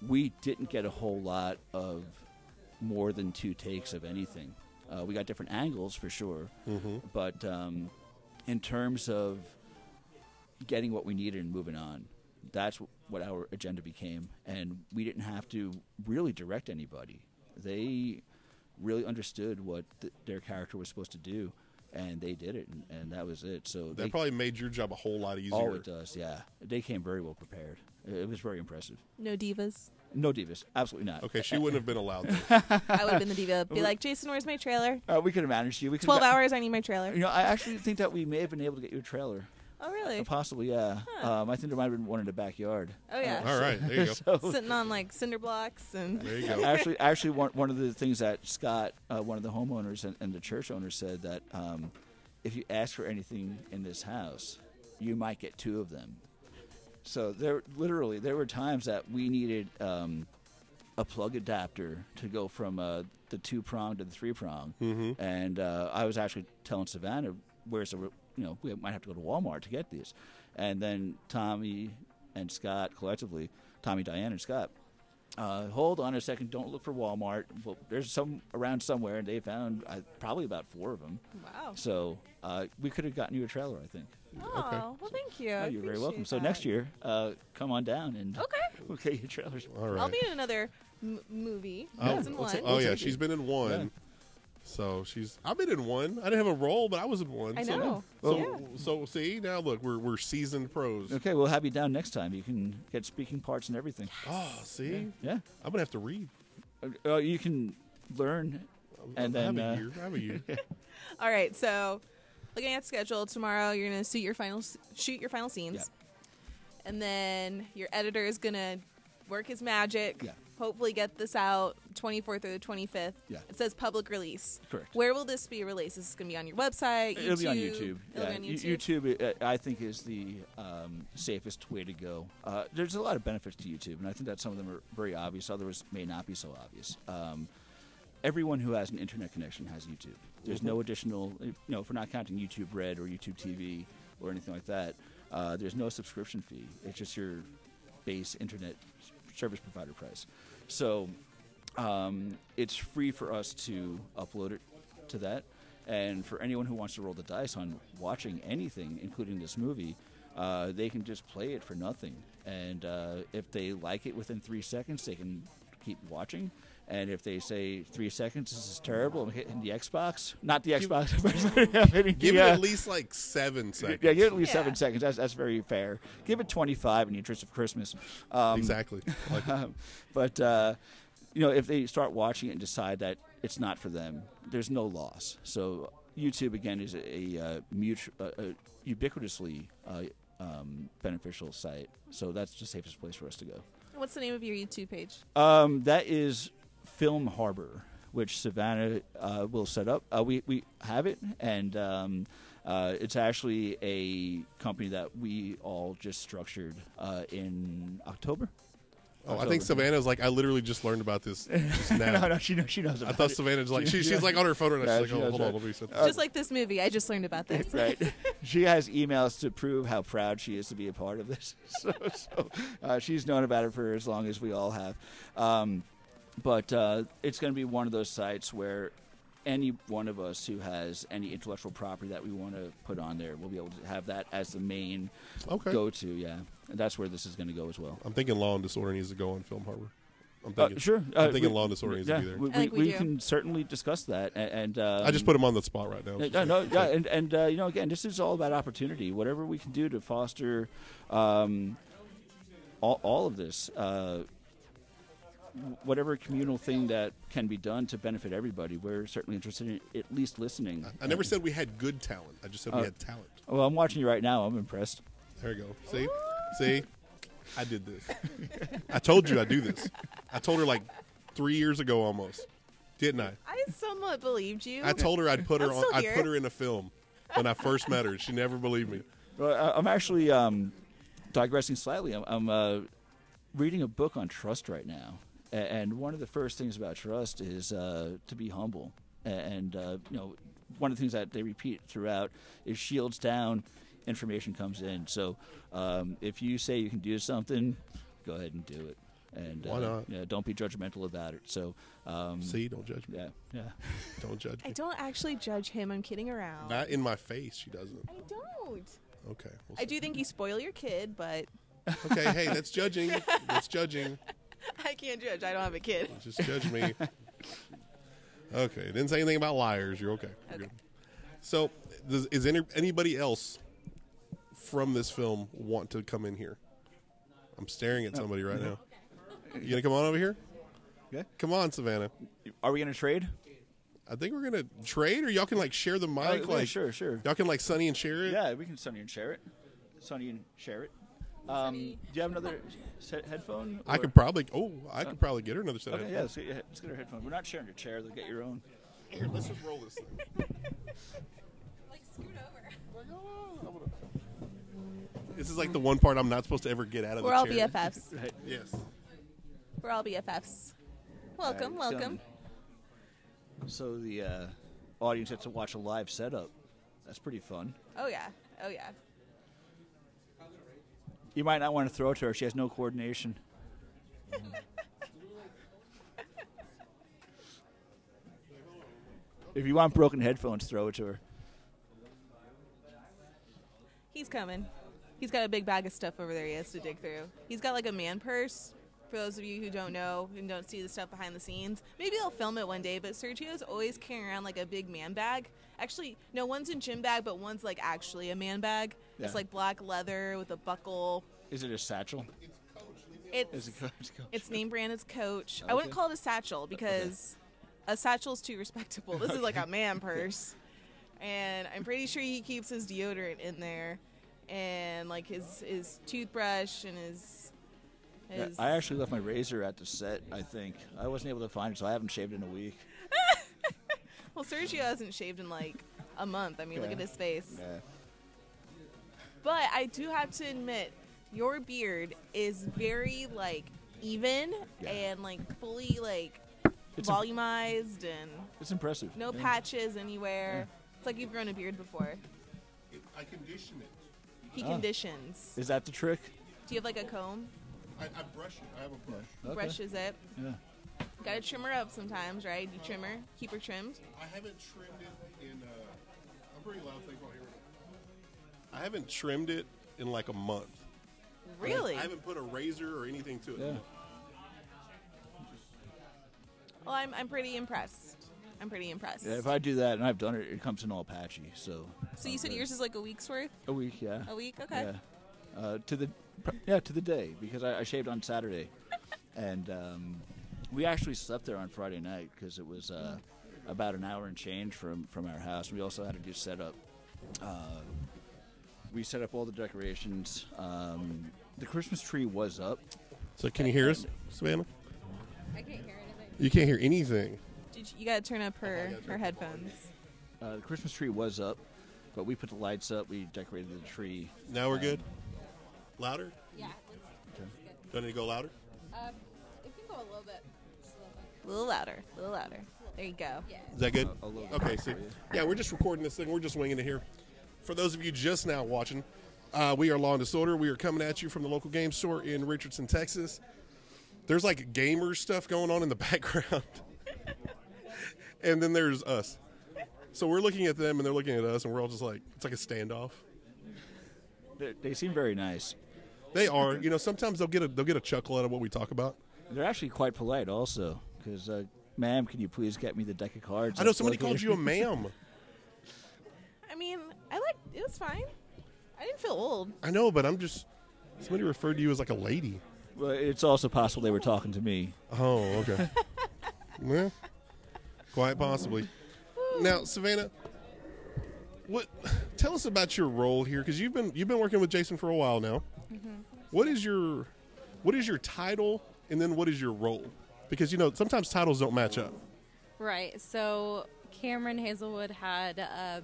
[SPEAKER 1] we didn't get a whole lot of more than two takes of anything. Uh, we got different angles for sure,
[SPEAKER 2] Mm-hmm.
[SPEAKER 1] but um, in terms of getting what we needed and moving on, that's wh- what our agenda became, and we didn't have to really direct anybody. They really understood what th- their character was supposed to do, and they did it, and, and that was it. So
[SPEAKER 2] That
[SPEAKER 1] they,
[SPEAKER 2] probably made your job a whole lot easier.
[SPEAKER 1] all it does, yeah. They came very well prepared. It it was very impressive.
[SPEAKER 3] No divas.
[SPEAKER 1] No divas, absolutely not.
[SPEAKER 2] Okay, she wouldn't have been allowed. There.
[SPEAKER 3] I would have been the diva. Be like, Jason, where's my trailer?
[SPEAKER 1] Uh, we could have managed you. We could
[SPEAKER 3] Twelve
[SPEAKER 1] have,
[SPEAKER 3] hours. I need my trailer.
[SPEAKER 1] You know, I actually think that we may have been able to get you a trailer.
[SPEAKER 3] Oh really?
[SPEAKER 1] Possibly, yeah. Um, I think there might have been one in the backyard.
[SPEAKER 3] Oh yeah.
[SPEAKER 2] All right, there you go.
[SPEAKER 1] So
[SPEAKER 3] Sitting on like cinder blocks and
[SPEAKER 2] There you go.
[SPEAKER 1] actually, actually, one, one of the things that Scott, uh, one of the homeowners and, and the church owners, said that um, if you ask for anything in this house, you might get two of them. So there, literally, there were times that we needed um, a plug adapter to go from uh, the two prong to the three prong, and uh, I was actually telling Savannah, "Where's the, re- you know, we might have to go to Walmart to get these," and then Tommy and Scott collectively, Tommy, Diane, and Scott. Uh, hold on a second. Don't look for Walmart. Well, there's some around somewhere, and they found uh, probably about four of them.
[SPEAKER 3] wow.
[SPEAKER 1] So uh, we could have gotten you a trailer, I think.
[SPEAKER 3] Oh well, thank you. I
[SPEAKER 1] Oh, you're very
[SPEAKER 3] appreciate
[SPEAKER 1] welcome. So
[SPEAKER 3] that.
[SPEAKER 1] next year, uh, come on down and
[SPEAKER 3] Okay.
[SPEAKER 1] we'll get you trailers.
[SPEAKER 2] All right.
[SPEAKER 3] I'll be in another m- movie.
[SPEAKER 2] Oh,
[SPEAKER 3] That's in
[SPEAKER 1] we'll
[SPEAKER 3] one.
[SPEAKER 1] take-
[SPEAKER 2] Oh yeah,
[SPEAKER 1] take
[SPEAKER 2] she's
[SPEAKER 1] it.
[SPEAKER 2] been in one.
[SPEAKER 1] Yeah.
[SPEAKER 2] So she's I've been in one. I didn't have a role, but I was in one.
[SPEAKER 3] I
[SPEAKER 2] so,
[SPEAKER 3] know.
[SPEAKER 2] So,
[SPEAKER 3] yeah.
[SPEAKER 2] so see now look, we're we're seasoned pros.
[SPEAKER 1] Okay, we'll have you down next time. You can get speaking parts and everything.
[SPEAKER 2] Oh, see,
[SPEAKER 1] Yeah.
[SPEAKER 2] I'm gonna have to read.
[SPEAKER 1] Uh, you can learn, and
[SPEAKER 2] I have
[SPEAKER 1] then
[SPEAKER 2] a
[SPEAKER 1] uh,
[SPEAKER 2] year. I have a year.
[SPEAKER 3] All right. So, looking at schedule tomorrow, you're gonna shoot your final s- shoot your final scenes, and then your editor is gonna work his magic.
[SPEAKER 1] Yeah.
[SPEAKER 3] Hopefully, get this out 24th or the 25th.
[SPEAKER 1] Yeah.
[SPEAKER 3] It says public release.
[SPEAKER 1] Correct.
[SPEAKER 3] Where will this be released? Is this gonna be on your website?
[SPEAKER 1] It'll be on
[SPEAKER 3] YouTube?
[SPEAKER 1] YouTube.
[SPEAKER 3] It'll
[SPEAKER 1] yeah.
[SPEAKER 3] be on
[SPEAKER 1] Y-
[SPEAKER 3] YouTube.
[SPEAKER 1] YouTube, uh, I think, is the um, safest way to go. Uh, there's a lot of benefits to YouTube, and I think that some of them are very obvious. Others may not be so obvious. Um, everyone who has an internet connection has YouTube. There's
[SPEAKER 3] Mm-hmm.
[SPEAKER 1] no additional, you know, if we're not counting YouTube Red or YouTube TV or anything like that, uh, there's no subscription fee. It's just your base internet s- service provider price. So um, it's free for us to upload it to that. And for anyone who wants to roll the dice on watching anything, including this movie, uh, they can just play it for nothing. And uh, if they like it within three seconds, they can keep watching. And if they say three seconds, this is terrible, I'm hitting the Xbox, not the Xbox. I'm hitting
[SPEAKER 2] Give
[SPEAKER 1] the,
[SPEAKER 2] it
[SPEAKER 1] uh,
[SPEAKER 2] at least like seven seconds.
[SPEAKER 1] yeah, give it at least seven
[SPEAKER 3] Yeah.
[SPEAKER 1] seconds. That's, that's very fair. Give it 25 in the interest of Christmas. Um,
[SPEAKER 2] exactly. Like, oh,
[SPEAKER 1] um, but uh, you know, if they start watching it and decide that it's not for them, there's no loss. So YouTube again is a, a, uh, mutu- uh, uh, ubiquitously uh, uh, um, beneficial site. So that's the safest place for us to go.
[SPEAKER 3] What's the name of your YouTube page?
[SPEAKER 1] Um, that is Film Harbor, which Savannah uh, will set up. Uh, we we have it, and um, uh, it's actually a company that we all just structured uh, in October.
[SPEAKER 2] Oh, I think Savannah's like I literally just learned about this just now.
[SPEAKER 1] No, no, she knows. She knows.
[SPEAKER 2] I
[SPEAKER 1] About
[SPEAKER 2] thought
[SPEAKER 1] it.
[SPEAKER 2] Savannah's like
[SPEAKER 1] She-
[SPEAKER 2] she, she's like on her phone right now.
[SPEAKER 1] Yeah,
[SPEAKER 2] She's
[SPEAKER 1] she
[SPEAKER 2] like, oh,
[SPEAKER 1] knows,
[SPEAKER 2] hold on,
[SPEAKER 1] right.
[SPEAKER 2] let me set this.
[SPEAKER 3] Just like this movie, I just learned about this.
[SPEAKER 1] right. She has emails to prove how proud she is to be a part of this. So, so uh, she's known about it for as long as we all have. Um, but uh, it's going to be one of those sites where any one of us who has any intellectual property that we want to put on there, we'll be able to have that as the main
[SPEAKER 2] Okay.
[SPEAKER 1] go-to. Yeah, and that's where this is going to go as well.
[SPEAKER 2] I'm thinking Law and Disorder needs to go on Film Harbor. I'm
[SPEAKER 1] Uh,
[SPEAKER 2] thinking
[SPEAKER 1] sure,
[SPEAKER 2] I'm
[SPEAKER 1] Uh,
[SPEAKER 2] thinking
[SPEAKER 1] we-
[SPEAKER 2] Law and Disorder needs
[SPEAKER 1] yeah,
[SPEAKER 2] to be there.
[SPEAKER 1] We,
[SPEAKER 3] I think
[SPEAKER 1] we-
[SPEAKER 3] we
[SPEAKER 1] we
[SPEAKER 3] do.
[SPEAKER 1] can certainly discuss that, a- and, um,
[SPEAKER 2] I just put him on the spot right now.
[SPEAKER 1] Yeah, no, yeah, and and uh, you know, again, this is all about opportunity. Whatever we can do to foster um, all, all of this, uh, whatever communal thing that can be done to benefit everybody, we're certainly interested in at least listening.
[SPEAKER 2] I never said we had good talent. I just said we had talent.
[SPEAKER 1] Well, I'm watching you right now. I'm impressed.
[SPEAKER 2] There you go. See, see, I did this. I told you I do this. I told her like three years ago almost, didn't I?
[SPEAKER 3] I somewhat believed you.
[SPEAKER 2] I told her I'd put her
[SPEAKER 3] I'm
[SPEAKER 2] on.
[SPEAKER 3] still
[SPEAKER 2] I
[SPEAKER 3] here.
[SPEAKER 2] put her in a film when I first met her. She never believed me.
[SPEAKER 1] Well, I- I'm actually um, digressing slightly. I'm, I'm uh, reading a book on trust right now, A- and one of the first things about trust is uh, to be humble. A- And uh, you know, one of the things that they repeat throughout is shields down, information comes in. So um, if you say you can do something, go ahead and do it. And
[SPEAKER 2] Why
[SPEAKER 1] uh,
[SPEAKER 2] not?
[SPEAKER 1] yeah, don't be judgmental about it. So um,
[SPEAKER 2] See, don't judge me.
[SPEAKER 1] yeah, yeah.
[SPEAKER 2] Don't judge
[SPEAKER 3] I
[SPEAKER 2] me.
[SPEAKER 3] don't actually judge him. I'm kidding around.
[SPEAKER 2] Not in my face. She doesn't.
[SPEAKER 3] I don't.
[SPEAKER 2] Okay. we'll
[SPEAKER 3] I do think you spoil your kid, but
[SPEAKER 2] see. Okay. Hey, that's judging. That's judging.
[SPEAKER 3] I can't judge. I don't have a kid.
[SPEAKER 2] Just judge me. Okay. Didn't say anything about liars. You're okay. You're
[SPEAKER 3] Okay.
[SPEAKER 2] good. So, does, is any, anybody else from this film want to come in here? I'm staring at somebody right now. You gonna come on over here?
[SPEAKER 1] Yeah.
[SPEAKER 2] Come on, Savannah.
[SPEAKER 1] Are we gonna trade?
[SPEAKER 2] I think we're gonna trade, or y'all can like share the
[SPEAKER 1] Oh,
[SPEAKER 2] mic.
[SPEAKER 1] yeah,
[SPEAKER 2] like
[SPEAKER 1] sure, sure.
[SPEAKER 2] Y'all can like Sunny and share it.
[SPEAKER 1] Yeah, we can Sonny and share it. Sonny and share it. Um, do you have another se- headphone?
[SPEAKER 2] I
[SPEAKER 1] or-
[SPEAKER 2] could probably. Oh, I could probably get her another set. of
[SPEAKER 1] Okay, yeah, let's get, your- let's get our headphone. We're not sharing your chair. They'll get your own.
[SPEAKER 2] Here, let's just roll this thing.
[SPEAKER 5] Like, scoot over.
[SPEAKER 2] This is like the one part I'm not supposed to ever get out of
[SPEAKER 3] We're
[SPEAKER 2] the
[SPEAKER 3] all
[SPEAKER 2] chair.
[SPEAKER 3] BFFs.
[SPEAKER 2] Yes.
[SPEAKER 3] We're all BFFs. Welcome,
[SPEAKER 1] All right,
[SPEAKER 3] welcome.
[SPEAKER 1] So, um, so the uh, audience gets to watch a live setup. That's pretty fun.
[SPEAKER 3] Oh yeah, oh yeah.
[SPEAKER 1] You might not want to throw it to her. She has no coordination. if you want broken headphones, throw it to her.
[SPEAKER 3] He's coming. He's got a big bag of stuff over there he has to dig through. He's got like a man purse. For those of you who don't know and don't see the stuff behind the scenes, maybe I'll film it one day, but Sergio's always carrying around like a big man bag. Actually, no, one's a gym bag, but one's like actually a man bag.
[SPEAKER 1] Yeah.
[SPEAKER 3] It's like black leather with a buckle.
[SPEAKER 1] Is it a satchel?
[SPEAKER 3] It's,
[SPEAKER 1] Is it it's a-
[SPEAKER 3] it's name brand, it's Coach. I wouldn't call it a satchel because a satchel's too respectable. This is like a man purse. And I'm pretty sure he keeps his deodorant in there and like his his toothbrush and his
[SPEAKER 1] Yeah,
[SPEAKER 3] his
[SPEAKER 1] I actually left my razor at the set. I think I wasn't able to find it, so I haven't shaved in a week.
[SPEAKER 3] Well, Sergio hasn't shaved in like a month. I mean, look
[SPEAKER 1] Yeah.
[SPEAKER 3] at his face. But I do have to admit, your beard is very like even
[SPEAKER 1] Yeah.
[SPEAKER 3] and like fully like
[SPEAKER 1] It's, im-
[SPEAKER 3] volumized and
[SPEAKER 1] it's impressive.
[SPEAKER 3] no
[SPEAKER 2] Mm.
[SPEAKER 1] Yeah.
[SPEAKER 3] patches anywhere. It's like you've grown a beard before.
[SPEAKER 2] I condition it.
[SPEAKER 3] He
[SPEAKER 1] Ah.
[SPEAKER 3] conditions.
[SPEAKER 1] Is that the trick?
[SPEAKER 3] Do you have like a comb?
[SPEAKER 2] I, I brush it. I have a brush.
[SPEAKER 1] Okay.
[SPEAKER 3] Brushes it.
[SPEAKER 1] Yeah.
[SPEAKER 3] Gotta trim her up sometimes, right? You trim her, keep her trimmed.
[SPEAKER 2] I haven't trimmed it in. Uh, I'm pretty loud. Thank you. I haven't trimmed it in like a month.
[SPEAKER 3] Really?
[SPEAKER 2] I haven't put a razor or anything to it.
[SPEAKER 1] Yeah.
[SPEAKER 3] Well, I'm, I'm pretty impressed. I'm pretty impressed.
[SPEAKER 1] Yeah, If I do that, and I've done it, it comes in all patchy. So.
[SPEAKER 3] so you said yours is like a week's worth?
[SPEAKER 1] a week? Yeah.
[SPEAKER 3] A week? Okay.
[SPEAKER 1] Yeah. Uh, to the pr- yeah to the day because I, I shaved on Saturday, and um, we actually slept there on Friday night because it was uh, about an hour and change from from our house. We also had to do setup. Uh, we set up all the decorations. Um, the Christmas tree was up.
[SPEAKER 2] So can you hear us, Savannah?
[SPEAKER 5] I can't hear anything.
[SPEAKER 2] You can't hear anything.
[SPEAKER 3] Did you, you gotta turn up
[SPEAKER 2] I
[SPEAKER 3] her,
[SPEAKER 2] gotta turn
[SPEAKER 3] her
[SPEAKER 2] up the
[SPEAKER 3] headphones.
[SPEAKER 1] Uh, the Christmas tree was up, but we put the lights up. We decorated the tree.
[SPEAKER 2] Now we're good. Louder?
[SPEAKER 5] Yeah. let's-
[SPEAKER 1] Okay.
[SPEAKER 2] Do I need to go louder?
[SPEAKER 5] Um, it can go a little bit. Just a little bit.
[SPEAKER 3] A little louder, a little louder. There you go.
[SPEAKER 5] Yeah.
[SPEAKER 2] Is that good?
[SPEAKER 1] A- a little bit
[SPEAKER 2] okay, see.
[SPEAKER 1] for you.
[SPEAKER 2] Yeah, we're just recording this thing. We're just winging it here. For those of you just now watching, uh, we are Law and Disorder. We are coming at you from the local game store in Richardson, Texas. There's like gamer stuff going on in the background. and then there's us. So we're looking at them and they're looking at us and we're all just like, it's like a standoff.
[SPEAKER 1] They, they seem very nice.
[SPEAKER 2] They are, you know, sometimes they'll get a they'll get a chuckle out of what we talk about.
[SPEAKER 1] They're actually quite polite, also, because, uh, ma'am, can you please get me the deck of cards?
[SPEAKER 2] I know
[SPEAKER 1] that's
[SPEAKER 2] somebody called
[SPEAKER 1] located-"
[SPEAKER 2] you a ma'am.
[SPEAKER 3] I mean, I like it was fine. I didn't feel old.
[SPEAKER 2] I know, but I'm just somebody referred to you as like a lady.
[SPEAKER 1] Well, it's also possible they were talking to me.
[SPEAKER 2] Oh, okay. well, quite possibly. Now, Savannah, what? Tell us about your role here, because you've been you've been working with Jason for a while now.
[SPEAKER 6] Mm-hmm.
[SPEAKER 2] What is your what is your title, and then what is your role? Because you know sometimes titles don't match up.
[SPEAKER 6] Right. So Cameron Hazelwood had um,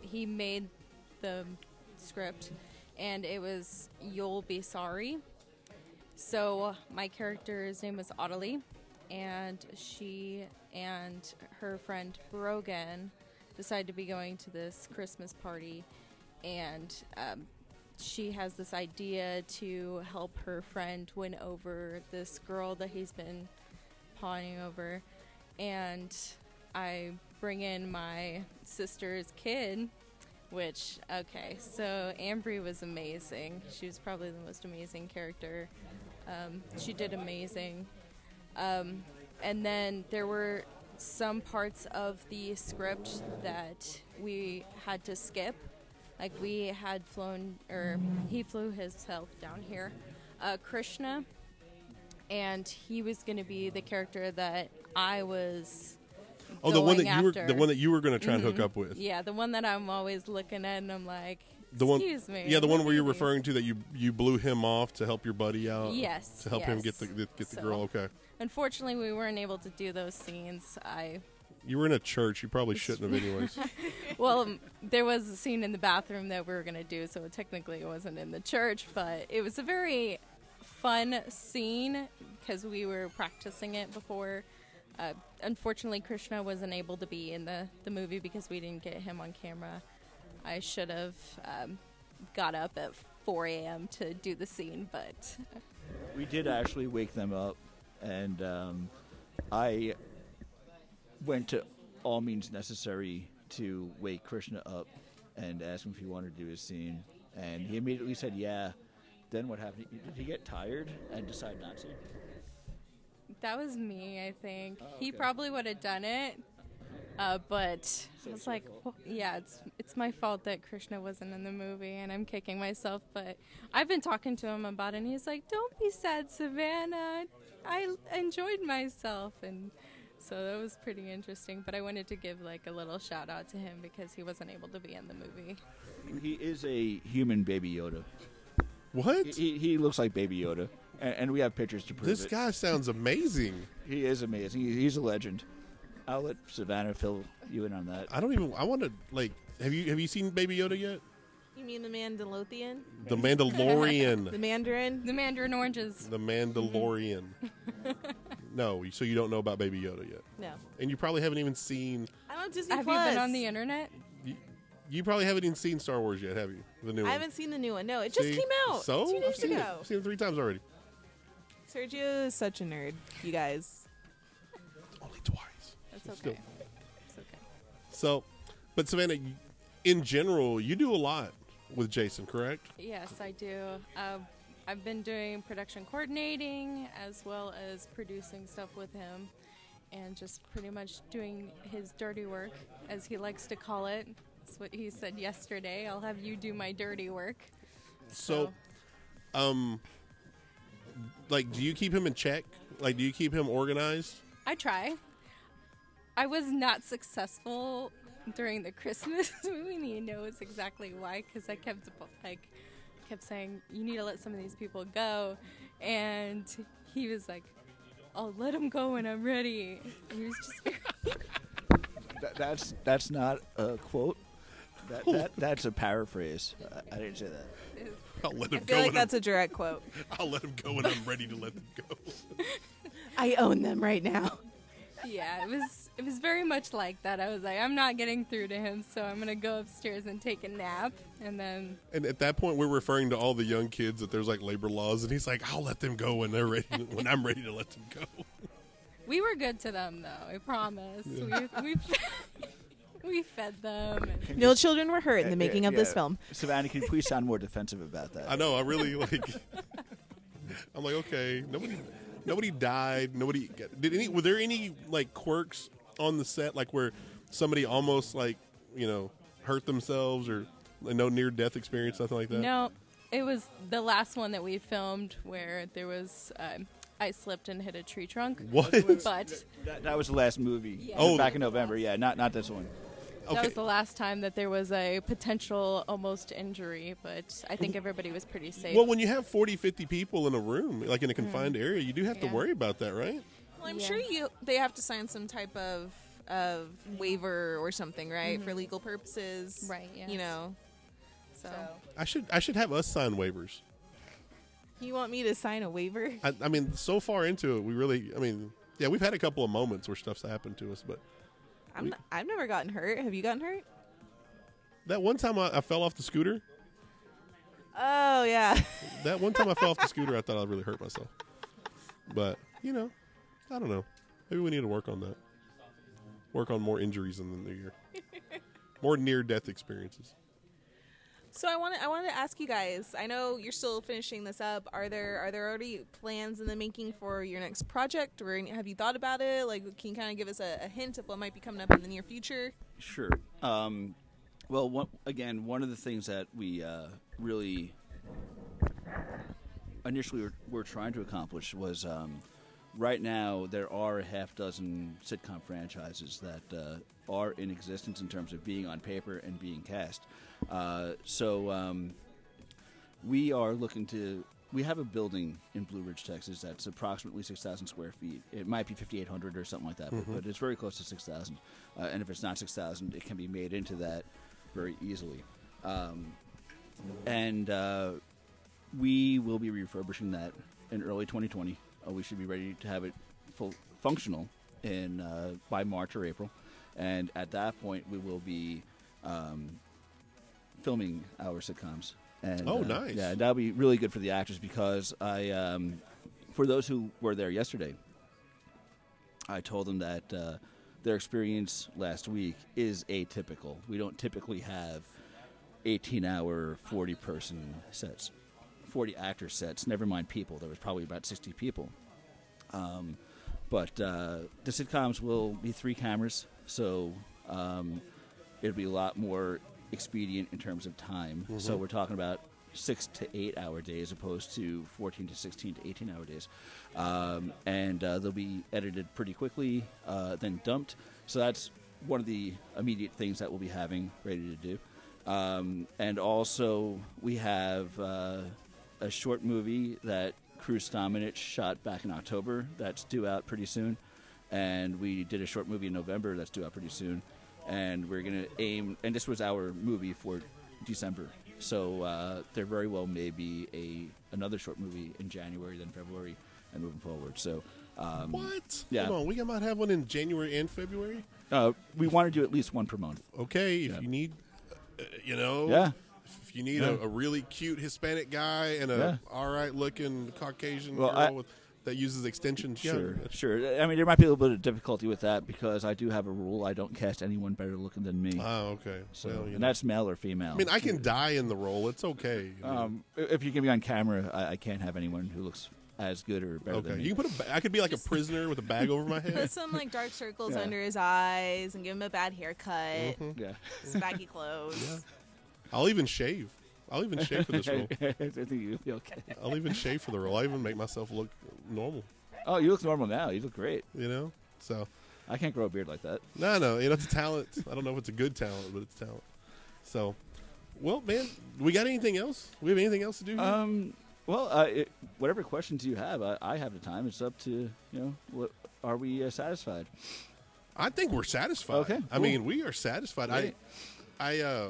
[SPEAKER 6] he made the script, and it was "You'll Be Sorry." So my character's name was Ottilie, and she and her friend Brogan decide to be going to this Christmas party, and um, she has this idea to help her friend win over this girl that he's been pawning over and I bring in my sister's kid, which, okay, so Ambry was amazing. She was probably the most amazing character. Um, she did amazing. Um, and then there were some parts of the script that we had to skip. Like we had flown, or he flew himself down here. Uh, Krishna, and he was going to be the character that I was.
[SPEAKER 2] Oh, the one that
[SPEAKER 6] going
[SPEAKER 2] you were
[SPEAKER 6] after. Mm-hmm.
[SPEAKER 2] the one that you were going to try and hook up with.
[SPEAKER 6] Yeah, the one that I'm always looking at, and I'm like,
[SPEAKER 2] The one,
[SPEAKER 6] excuse me. Mm-hmm.
[SPEAKER 2] yeah, the one
[SPEAKER 6] what
[SPEAKER 2] where
[SPEAKER 6] are
[SPEAKER 2] you're
[SPEAKER 6] you doing?"
[SPEAKER 2] referring to that you you blew him off to help your buddy out.
[SPEAKER 6] Yes,
[SPEAKER 2] to help him get
[SPEAKER 6] yes.
[SPEAKER 2] the get the
[SPEAKER 6] So-
[SPEAKER 2] girl. Okay,
[SPEAKER 6] Unfortunately, we weren't able to do those scenes. I
[SPEAKER 2] you were in a church. You probably shouldn't have, anyways.
[SPEAKER 6] well, um, there was a scene in the bathroom that we were gonna do, so technically it wasn't in the church, but it was a very fun scene because we were practicing it before. Uh, unfortunately, Krishna wasn't able to be in the the movie because we didn't get him on camera. I should have um, got up at 4 a.m. to do the scene, but
[SPEAKER 1] We did actually wake them up, and um, I went to all means necessary to wake Krishna up and ask him if he wanted to do his scene, and he immediately said yeah. Then what happened? Did he get tired and decide not to?
[SPEAKER 6] That was me, I think. He
[SPEAKER 1] okay.
[SPEAKER 6] probably would have done it, uh, but I was
[SPEAKER 1] it's your
[SPEAKER 6] like,
[SPEAKER 1] fault.
[SPEAKER 6] well, yeah, it's it's my fault that Krishna wasn't in the movie, and I'm kicking myself. But I've been talking to him about it, and he's like, "Don't be sad, Savannah. I l- enjoyed myself." And so that was pretty interesting. But I wanted to give like a little shout out to him because he wasn't able to be in the movie.
[SPEAKER 1] He is a human Baby Yoda.
[SPEAKER 2] what?
[SPEAKER 1] He, he looks like Baby Yoda, and, and we have pictures to prove
[SPEAKER 2] This
[SPEAKER 1] it.
[SPEAKER 2] guy sounds amazing.
[SPEAKER 1] He is amazing. He- He's a legend. I'll let Savannah fill you in on that.
[SPEAKER 2] I don't even. I want to like. Have you have you seen Baby Yoda yet?
[SPEAKER 3] You mean the Mandalorian?
[SPEAKER 2] The Mandalorian.
[SPEAKER 3] The Mandarin?
[SPEAKER 6] The Mandarin Oranges.
[SPEAKER 2] the Mandalorian.
[SPEAKER 3] Mm-hmm.
[SPEAKER 2] no, so you don't know about Baby Yoda yet,
[SPEAKER 3] No. is
[SPEAKER 2] and you probably haven't even seen.
[SPEAKER 3] I don't have Disney
[SPEAKER 6] Have you
[SPEAKER 3] Plus.
[SPEAKER 6] been on the internet?
[SPEAKER 2] You, you probably haven't even seen Star Wars yet, have you? The new
[SPEAKER 3] I
[SPEAKER 2] one.
[SPEAKER 3] haven't seen the new one. No, it just
[SPEAKER 2] See?
[SPEAKER 3] came out
[SPEAKER 2] So
[SPEAKER 3] two
[SPEAKER 2] I've
[SPEAKER 3] days
[SPEAKER 2] seen
[SPEAKER 3] ago.
[SPEAKER 2] it. Seen it three times already.
[SPEAKER 3] Sergio is such a nerd, you guys.
[SPEAKER 2] Only twice.
[SPEAKER 6] That's
[SPEAKER 2] So
[SPEAKER 6] okay.
[SPEAKER 2] still-
[SPEAKER 6] It's okay.
[SPEAKER 2] So, but Savannah, you- in general, you do a lot with Jason, correct?
[SPEAKER 6] Yes, I do. Um, I've been doing production coordinating as well as producing stuff with him and just pretty much doing his dirty work, as he likes to call it. That's what he said yesterday. I'll have you do my dirty work.
[SPEAKER 2] So,
[SPEAKER 3] Oh.
[SPEAKER 2] um, like, do you keep him in check? Like, do you keep him organized?
[SPEAKER 6] I try. I was not successful during the Christmas movie, and he knows exactly why. Because I kept like kept saying, "You need to let some of these people go," and he was like, "I'll let them go when I'm ready." And he was just very
[SPEAKER 1] That, that's that's not a quote. That, that that's a paraphrase. I, I didn't say that.
[SPEAKER 2] I'll let
[SPEAKER 3] I
[SPEAKER 2] him go.
[SPEAKER 3] feel
[SPEAKER 2] when
[SPEAKER 3] like
[SPEAKER 2] I'm-
[SPEAKER 3] that's a direct quote.
[SPEAKER 2] I'll let him go when I'm ready to let them go.
[SPEAKER 3] I own them right now.
[SPEAKER 6] yeah. It was it was very much like that. I was like, "I'm not getting through to him, so I'm gonna go upstairs and take a nap," and then
[SPEAKER 2] And at that point, we're referring to all the young kids that there's like labor laws, and he's like, "I'll let them go when they're ready. when I'm ready to let them go."
[SPEAKER 6] We were good to them, though. I promise. We we we fed them. And
[SPEAKER 3] No children were hurt in the
[SPEAKER 1] Yeah,
[SPEAKER 3] making of
[SPEAKER 1] yeah.
[SPEAKER 3] this film.
[SPEAKER 1] Savannah, can you please sound more defensive about that?
[SPEAKER 2] I know. I really like. I'm like, okay, nobody, nobody died. Nobody got- did any. Were there any like quirks on the set, like where somebody almost like you know hurt themselves or no near death experience, nothing like that?
[SPEAKER 6] no, it was the last one that we filmed where there was um, I slipped and hit a tree trunk.
[SPEAKER 2] What?
[SPEAKER 6] But
[SPEAKER 1] That, that was the last movie.
[SPEAKER 6] Yeah.
[SPEAKER 1] Oh,
[SPEAKER 2] Oh.
[SPEAKER 1] back in November. Yeah, not not this one.
[SPEAKER 6] that
[SPEAKER 2] Okay.
[SPEAKER 6] was the last time that there was a potential almost injury. But I think everybody was pretty safe.
[SPEAKER 2] Well, when you have 40, 50 people in a room, like in a confined area, you do have
[SPEAKER 6] Mm. Yeah.
[SPEAKER 2] to worry about that, right?
[SPEAKER 3] Well, I'm
[SPEAKER 6] Yeah.
[SPEAKER 3] sure you they have to sign some type of of waiver or something, right, for legal purposes.
[SPEAKER 6] Right, yes.
[SPEAKER 3] You know.
[SPEAKER 6] so.
[SPEAKER 2] I should I should have us sign waivers.
[SPEAKER 3] You want me to sign a waiver?
[SPEAKER 2] I, I mean, so far into it, we really. I mean, yeah, we've had a couple of moments where stuff's happened to us, but
[SPEAKER 3] I'm not, I've never gotten hurt. Have you gotten hurt?
[SPEAKER 2] that one time I, I fell off the scooter.
[SPEAKER 3] Oh yeah.
[SPEAKER 2] That one time I fell off the scooter, I thought I really hurt myself. But you know, I don't know. Maybe we need to work on that. Work on more injuries in the new year. More near-death experiences.
[SPEAKER 3] So I want I wanted to ask you guys. I know you're still finishing this up. Are there are there already plans in the making for your next project, or any- have you thought about it? Like, can you kind of give us a, a hint of what might be coming up in the near future?
[SPEAKER 1] Sure. Um, well, one, again, one of the things that we uh, really initially were, were trying to accomplish was um, right now there are a half dozen sitcom franchises that uh, are in existence in terms of being on paper and being cast. Uh, so um, we are looking to. We have a building in Blue Ridge, Texas, that's approximately 6,000 square feet. It might be 5,800 or something like that, but but it's very close to 6,000. Uh, and if it's not 6,000, it can be made into that very easily. Um, and uh, we will be refurbishing that in early 2020. Uh, we should be ready to have it full functional in uh, by March or April, and at that point we will be um, filming our sitcoms. And,
[SPEAKER 2] Oh,
[SPEAKER 1] uh,
[SPEAKER 2] nice.
[SPEAKER 1] Yeah, that'll be really good for the actors because I, um, for those who were there yesterday, I told them that uh, their experience last week is atypical. We don't typically have 18 hour, 40 person sets, 40 actor sets, never mind people. There was probably about 60 people. Um, but uh, the sitcoms will be three cameras, so um, it'll be a lot more expedient in terms of time. So we're talking about six to eight hour days opposed to 14 to 16 to 18 hour days. Um, and uh, they'll be edited pretty quickly, uh, then dumped. So that's one of the immediate things that we'll be having ready to do. Um, and also, we have uh, a short movie that Cruz Dominich shot back in October that's due out pretty soon. And we did a short movie in November that's due out pretty soon. And we're going to aim, and this was our movie for December. So uh, there very well may be a another short movie in January, then February, and moving forward. So um,
[SPEAKER 2] What?
[SPEAKER 1] Yeah.
[SPEAKER 2] Hold on, we might have one in January and February.
[SPEAKER 1] uh, we want to do at least one per month.
[SPEAKER 2] Okay, if
[SPEAKER 1] Yeah.
[SPEAKER 2] you need, uh, you know,
[SPEAKER 1] Yeah.
[SPEAKER 2] If you need
[SPEAKER 1] Yeah.
[SPEAKER 2] a, a really cute Hispanic guy and a
[SPEAKER 1] Yeah.
[SPEAKER 2] all right looking Caucasian
[SPEAKER 1] Well,
[SPEAKER 2] girl
[SPEAKER 1] I-
[SPEAKER 2] with, that uses extensions, yeah,
[SPEAKER 1] Sure,
[SPEAKER 2] that's-
[SPEAKER 1] sure. I mean, there might be a little bit of difficulty with that because I do have a rule: I don't cast anyone better looking than me.
[SPEAKER 2] Oh, okay.
[SPEAKER 1] so,
[SPEAKER 2] well, you
[SPEAKER 1] and
[SPEAKER 2] know.
[SPEAKER 1] that's male or female.
[SPEAKER 2] I mean, I can die in the role. It's okay. I mean,
[SPEAKER 1] um, i- if you can be on camera, I, I can't have anyone who looks as good or better than
[SPEAKER 2] okay,
[SPEAKER 1] me.
[SPEAKER 2] you can put a. Ba- I could be like a prisoner with a bag over my
[SPEAKER 3] Put
[SPEAKER 2] head.
[SPEAKER 3] some like dark circles
[SPEAKER 1] Yeah. Mm-hmm.
[SPEAKER 3] under his eyes and give him a bad haircut,
[SPEAKER 1] yeah,
[SPEAKER 3] baggy clothes.
[SPEAKER 2] I'll even shave. I'll even shave for this role.
[SPEAKER 1] I think you'll be okay.
[SPEAKER 2] I'll even shave for the role. I even make myself look normal.
[SPEAKER 1] Oh, you look normal now. You look great.
[SPEAKER 2] You know. So
[SPEAKER 1] I can't grow a beard like that.
[SPEAKER 2] No, no, you know, it's a talent. I don't know if it's a good talent, but it's a talent. So, well, man, we got anything else? We have anything else to do? Here?
[SPEAKER 1] Um, well, uh, it, whatever questions you have, I, I have the time. It's up to you know. What are we uh, satisfied?
[SPEAKER 2] I think we're satisfied.
[SPEAKER 1] Okay,
[SPEAKER 2] I
[SPEAKER 1] cool.
[SPEAKER 2] mean, we are satisfied.
[SPEAKER 1] Great.
[SPEAKER 2] I, I, uh,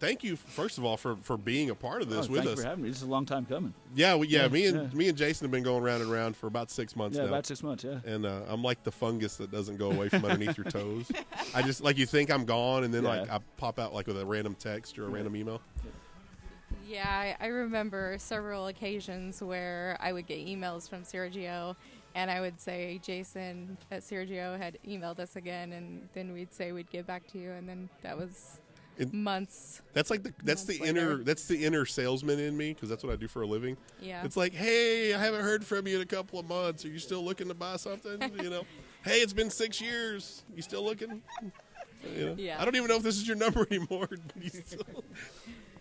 [SPEAKER 2] thank you first of all for for being a part of this
[SPEAKER 1] oh,
[SPEAKER 2] with
[SPEAKER 1] thank
[SPEAKER 2] us.
[SPEAKER 1] you for having me. This is a long time coming.
[SPEAKER 2] yeah, we, yeah, me and
[SPEAKER 1] yeah.
[SPEAKER 2] me and Jason have been going round and round for about six months
[SPEAKER 1] Yeah,
[SPEAKER 2] now.
[SPEAKER 1] about six months. Yeah.
[SPEAKER 2] and uh, I'm like the fungus that doesn't go away from underneath your toes. I just like you think I'm gone, and then like
[SPEAKER 1] Yeah.
[SPEAKER 2] I pop out like with a random text or a random email.
[SPEAKER 6] Yeah, I, I remember several occasions where I would get emails from Sergio, and I would say Jason at Sergio had emailed us again, and then we'd say we'd get back to you, and then that was
[SPEAKER 2] It-
[SPEAKER 6] months.
[SPEAKER 2] That's like the that's the
[SPEAKER 6] Months
[SPEAKER 2] inner
[SPEAKER 6] later.
[SPEAKER 2] that's the inner salesman in me because that's what I do for a living.
[SPEAKER 6] Yeah.
[SPEAKER 2] It's like, hey, I haven't heard from you in a couple of months. Are you still looking to buy something? you know, hey, it's been six years. You still looking? You know?
[SPEAKER 6] Yeah.
[SPEAKER 2] I don't even know if this is your number anymore. You still-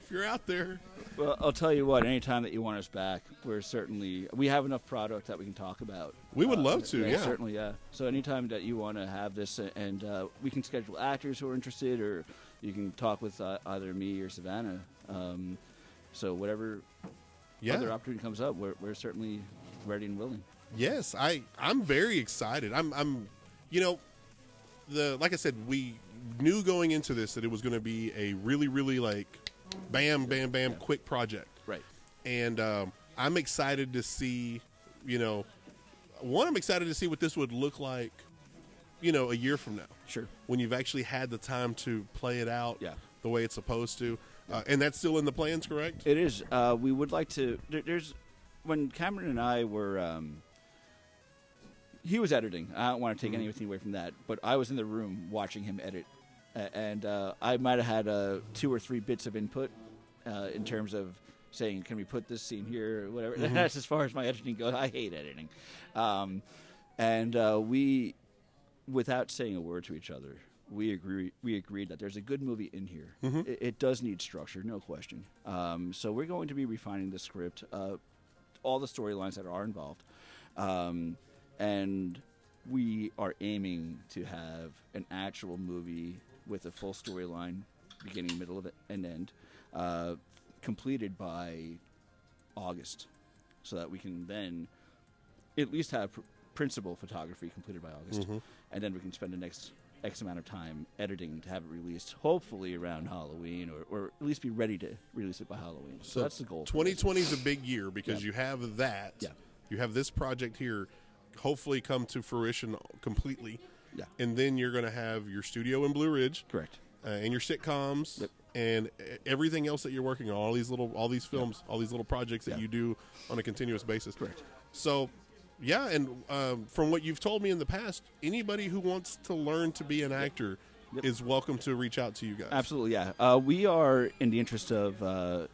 [SPEAKER 2] if you're out there,
[SPEAKER 1] Well, I'll tell you what. Anytime that you want us back, we're certainly we have enough product that we can talk about. Uh,
[SPEAKER 2] we would love to.
[SPEAKER 1] Yeah,
[SPEAKER 2] Yeah.
[SPEAKER 1] certainly. Yeah. So anytime that you want to have this, a- and uh, we can schedule actors who are interested, or you can talk with uh, either me or Savannah. Um, so whatever
[SPEAKER 2] Yeah.
[SPEAKER 1] other opportunity comes up, we're, we're certainly ready and willing.
[SPEAKER 2] Yes, I I'm very excited. I'm I'm you know the like I said we knew going into this that it was going to be a really really like bam bam bam quick project.
[SPEAKER 1] Right.
[SPEAKER 2] And um, I'm excited to see you know one I'm excited to see what this would look like you know a year from now.
[SPEAKER 1] Sure.
[SPEAKER 2] When you've actually had the time to play it out
[SPEAKER 1] Yeah.
[SPEAKER 2] the way it's supposed to. Uh, and that's still in the plans, correct?
[SPEAKER 1] It is. Uh, we would like to. There, there's when Cameron and I were. Um, he was editing. I don't want to take anything away from that, but I was in the room watching him edit, A- and uh, I might have had uh, two or three bits of input uh, in terms of saying, "Can we put this scene here?" or whatever. That's as far as my editing goes. I hate editing, um, and uh, we, without saying a word to each other. We agree. We agreed that there's a good movie in here. It, it does need structure, no question. Um, so we're going to be refining the script. Uh, all the storylines that are involved. Um, and we are aiming to have an actual movie with a full storyline, beginning, middle, of it, and end, uh, completed by August, so that we can then at least have pr- principal photography completed by August, and then we can spend the next X amount of time editing to have it released, hopefully around Halloween, or, or at least be ready to release it by Halloween. So, that's the goal. for this.
[SPEAKER 2] 2020 is a big year because you have that.
[SPEAKER 1] Yeah.
[SPEAKER 2] You have this project here, hopefully come to fruition completely.
[SPEAKER 1] Yeah.
[SPEAKER 2] And then you're going to have your studio in Blue Ridge,
[SPEAKER 1] Correct.
[SPEAKER 2] uh, and your sitcoms,
[SPEAKER 1] Yep.
[SPEAKER 2] and e- everything else that you're working on. All these little, all these films, all these little projects that
[SPEAKER 1] Yeah.
[SPEAKER 2] you do on a continuous basis.
[SPEAKER 1] Correct.
[SPEAKER 2] So, yeah, and um, from what you've told me in the past, anybody who wants to learn to be an actor
[SPEAKER 1] Yep.
[SPEAKER 2] is welcome to reach out to you guys.
[SPEAKER 1] Absolutely, yeah. Uh, we are in the interest of uh,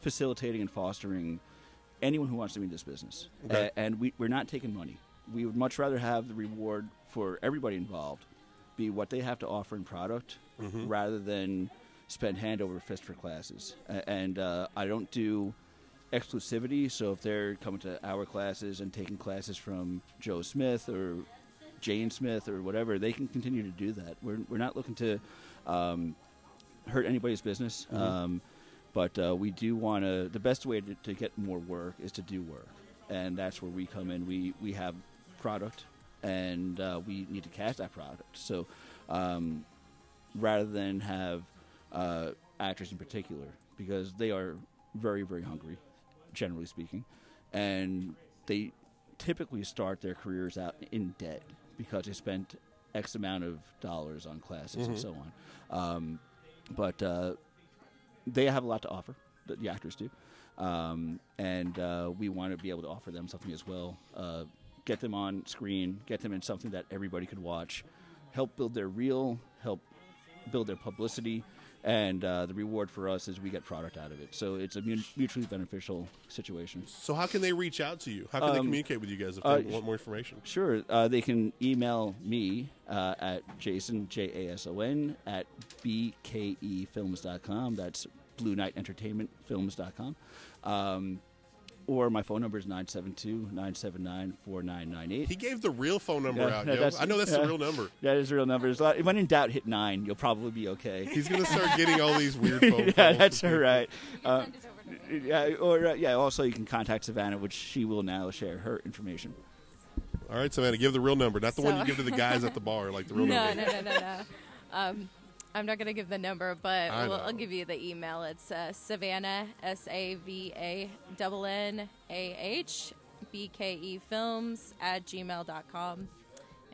[SPEAKER 1] facilitating and fostering anyone who wants to be in this business.
[SPEAKER 2] Okay.
[SPEAKER 1] A- and we, we're not taking money. We would much rather have the reward for everybody involved be what they have to offer in product rather than spend hand over fist for classes. A- and uh, I don't do exclusivity, so if they're coming to our classes and taking classes from Joe Smith or Jane Smith or whatever, they can continue to do that. We're, we're not looking to um, hurt anybody's business. Um, but uh, we do want to. The best way to, to get more work is to do work, and that's where we come in. We we have product, and uh, we need to cash that product. So, um, rather than have uh, actors in particular, because they are very very hungry, generally speaking, and they typically start their careers out in debt because they spent X amount of dollars on classes and so on. Um, but uh, they have a lot to offer. The, the actors do, um, and uh, we want to be able to offer them something as well. Uh, get them on screen, get them in something that everybody could watch, help build their reel, help build their publicity, and uh, the reward for us is we get product out of it. So it's a mu- mutually beneficial situation.
[SPEAKER 2] So, how can they reach out to you? How can they communicate with you guys if they
[SPEAKER 1] uh,
[SPEAKER 2] want more information?
[SPEAKER 1] Sure. Uh, they can email me uh, at Jason, J A S O N, at E BKEfilms.com. That's Blue Night Entertainment Films.com. Um, or my phone number is 972 979 4998.
[SPEAKER 2] He gave the real phone number
[SPEAKER 1] Yeah,
[SPEAKER 2] out.
[SPEAKER 1] no,
[SPEAKER 2] yo.
[SPEAKER 1] that's-
[SPEAKER 2] I know that's the
[SPEAKER 1] yeah.
[SPEAKER 2] real number.
[SPEAKER 1] That is a real number. There's a lot- When in doubt, hit nine. You'll probably be okay.
[SPEAKER 2] He's gonna start getting all these weird phone calls.
[SPEAKER 1] yeah, that's all right.
[SPEAKER 5] You can
[SPEAKER 1] Uh,
[SPEAKER 5] send it over to me.
[SPEAKER 1] yeah, or uh, yeah. Also, you can contact Savannah, which she will now share her information.
[SPEAKER 2] all right, Savannah, give the real number, not the one
[SPEAKER 6] So-
[SPEAKER 2] you give to the guys at the bar, like the real
[SPEAKER 6] No,
[SPEAKER 2] number.
[SPEAKER 6] no, no, no, no. Um, I'm not going to give the number, but
[SPEAKER 2] I
[SPEAKER 6] we'll, I'll
[SPEAKER 2] know.
[SPEAKER 6] give you the email. It's uh, Savannah, S A V A N N A H B K E Films at gmail.com.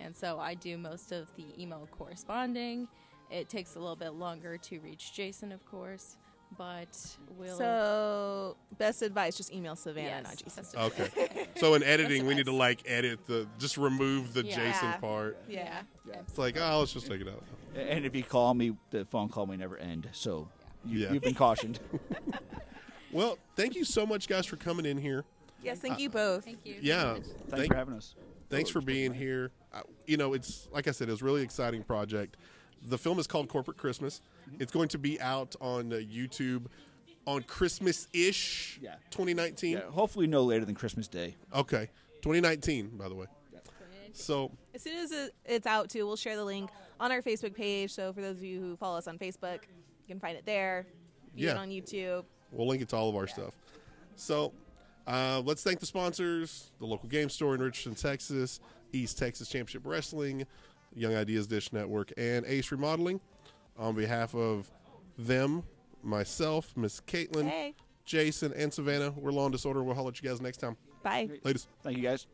[SPEAKER 6] And so I do most of the email corresponding. It takes a little bit longer to reach Jason, of course, but we'll.
[SPEAKER 3] So, best advice: just email Savannah,
[SPEAKER 6] yes,
[SPEAKER 3] not Jason.
[SPEAKER 6] that's
[SPEAKER 2] Okay. So in editing, we
[SPEAKER 6] That's
[SPEAKER 2] need to like edit the just remove the
[SPEAKER 6] Yeah.
[SPEAKER 2] Jason
[SPEAKER 3] Yeah.
[SPEAKER 2] part.
[SPEAKER 3] Yeah.
[SPEAKER 2] It's like, oh, let's just take it out.
[SPEAKER 1] And if you call me, the phone call may never end. So you,
[SPEAKER 2] Yeah.
[SPEAKER 1] you've been cautioned.
[SPEAKER 2] Well, thank you so much, guys, for coming in here.
[SPEAKER 3] Yes, thank you both.
[SPEAKER 6] Thank you.
[SPEAKER 2] Yeah,
[SPEAKER 1] Thanks for having us.
[SPEAKER 2] thanks
[SPEAKER 1] Oh,
[SPEAKER 2] for being here. I, you know, it's like I said, it was a really exciting project. The film is called Corporate Christmas.
[SPEAKER 1] Mm-hmm.
[SPEAKER 2] It's going to be out on uh, YouTube on Christmas ish,
[SPEAKER 1] Yeah.
[SPEAKER 2] 2019.
[SPEAKER 1] Yeah, hopefully, no later than Christmas Day.
[SPEAKER 2] Okay, 2019, by the way. So
[SPEAKER 3] As soon as it- it's out, too, we'll share the link on our Facebook page. So, for those of you who follow us on Facebook, you can find it there. View
[SPEAKER 2] Yeah.
[SPEAKER 3] it on YouTube.
[SPEAKER 2] We'll link it to all of our stuff. So uh, let's thank the sponsors the local game store in Richardson, Texas, East Texas Championship Wrestling, Young Ideas Dish Network, and Ace Remodeling. On behalf of them, myself, Miss Caitlin,
[SPEAKER 3] Hey,
[SPEAKER 2] Jason, and Savannah, we're Law and Disorder. We'll holler at you guys next time.
[SPEAKER 3] bye.
[SPEAKER 2] Latest.
[SPEAKER 1] Thank you, guys.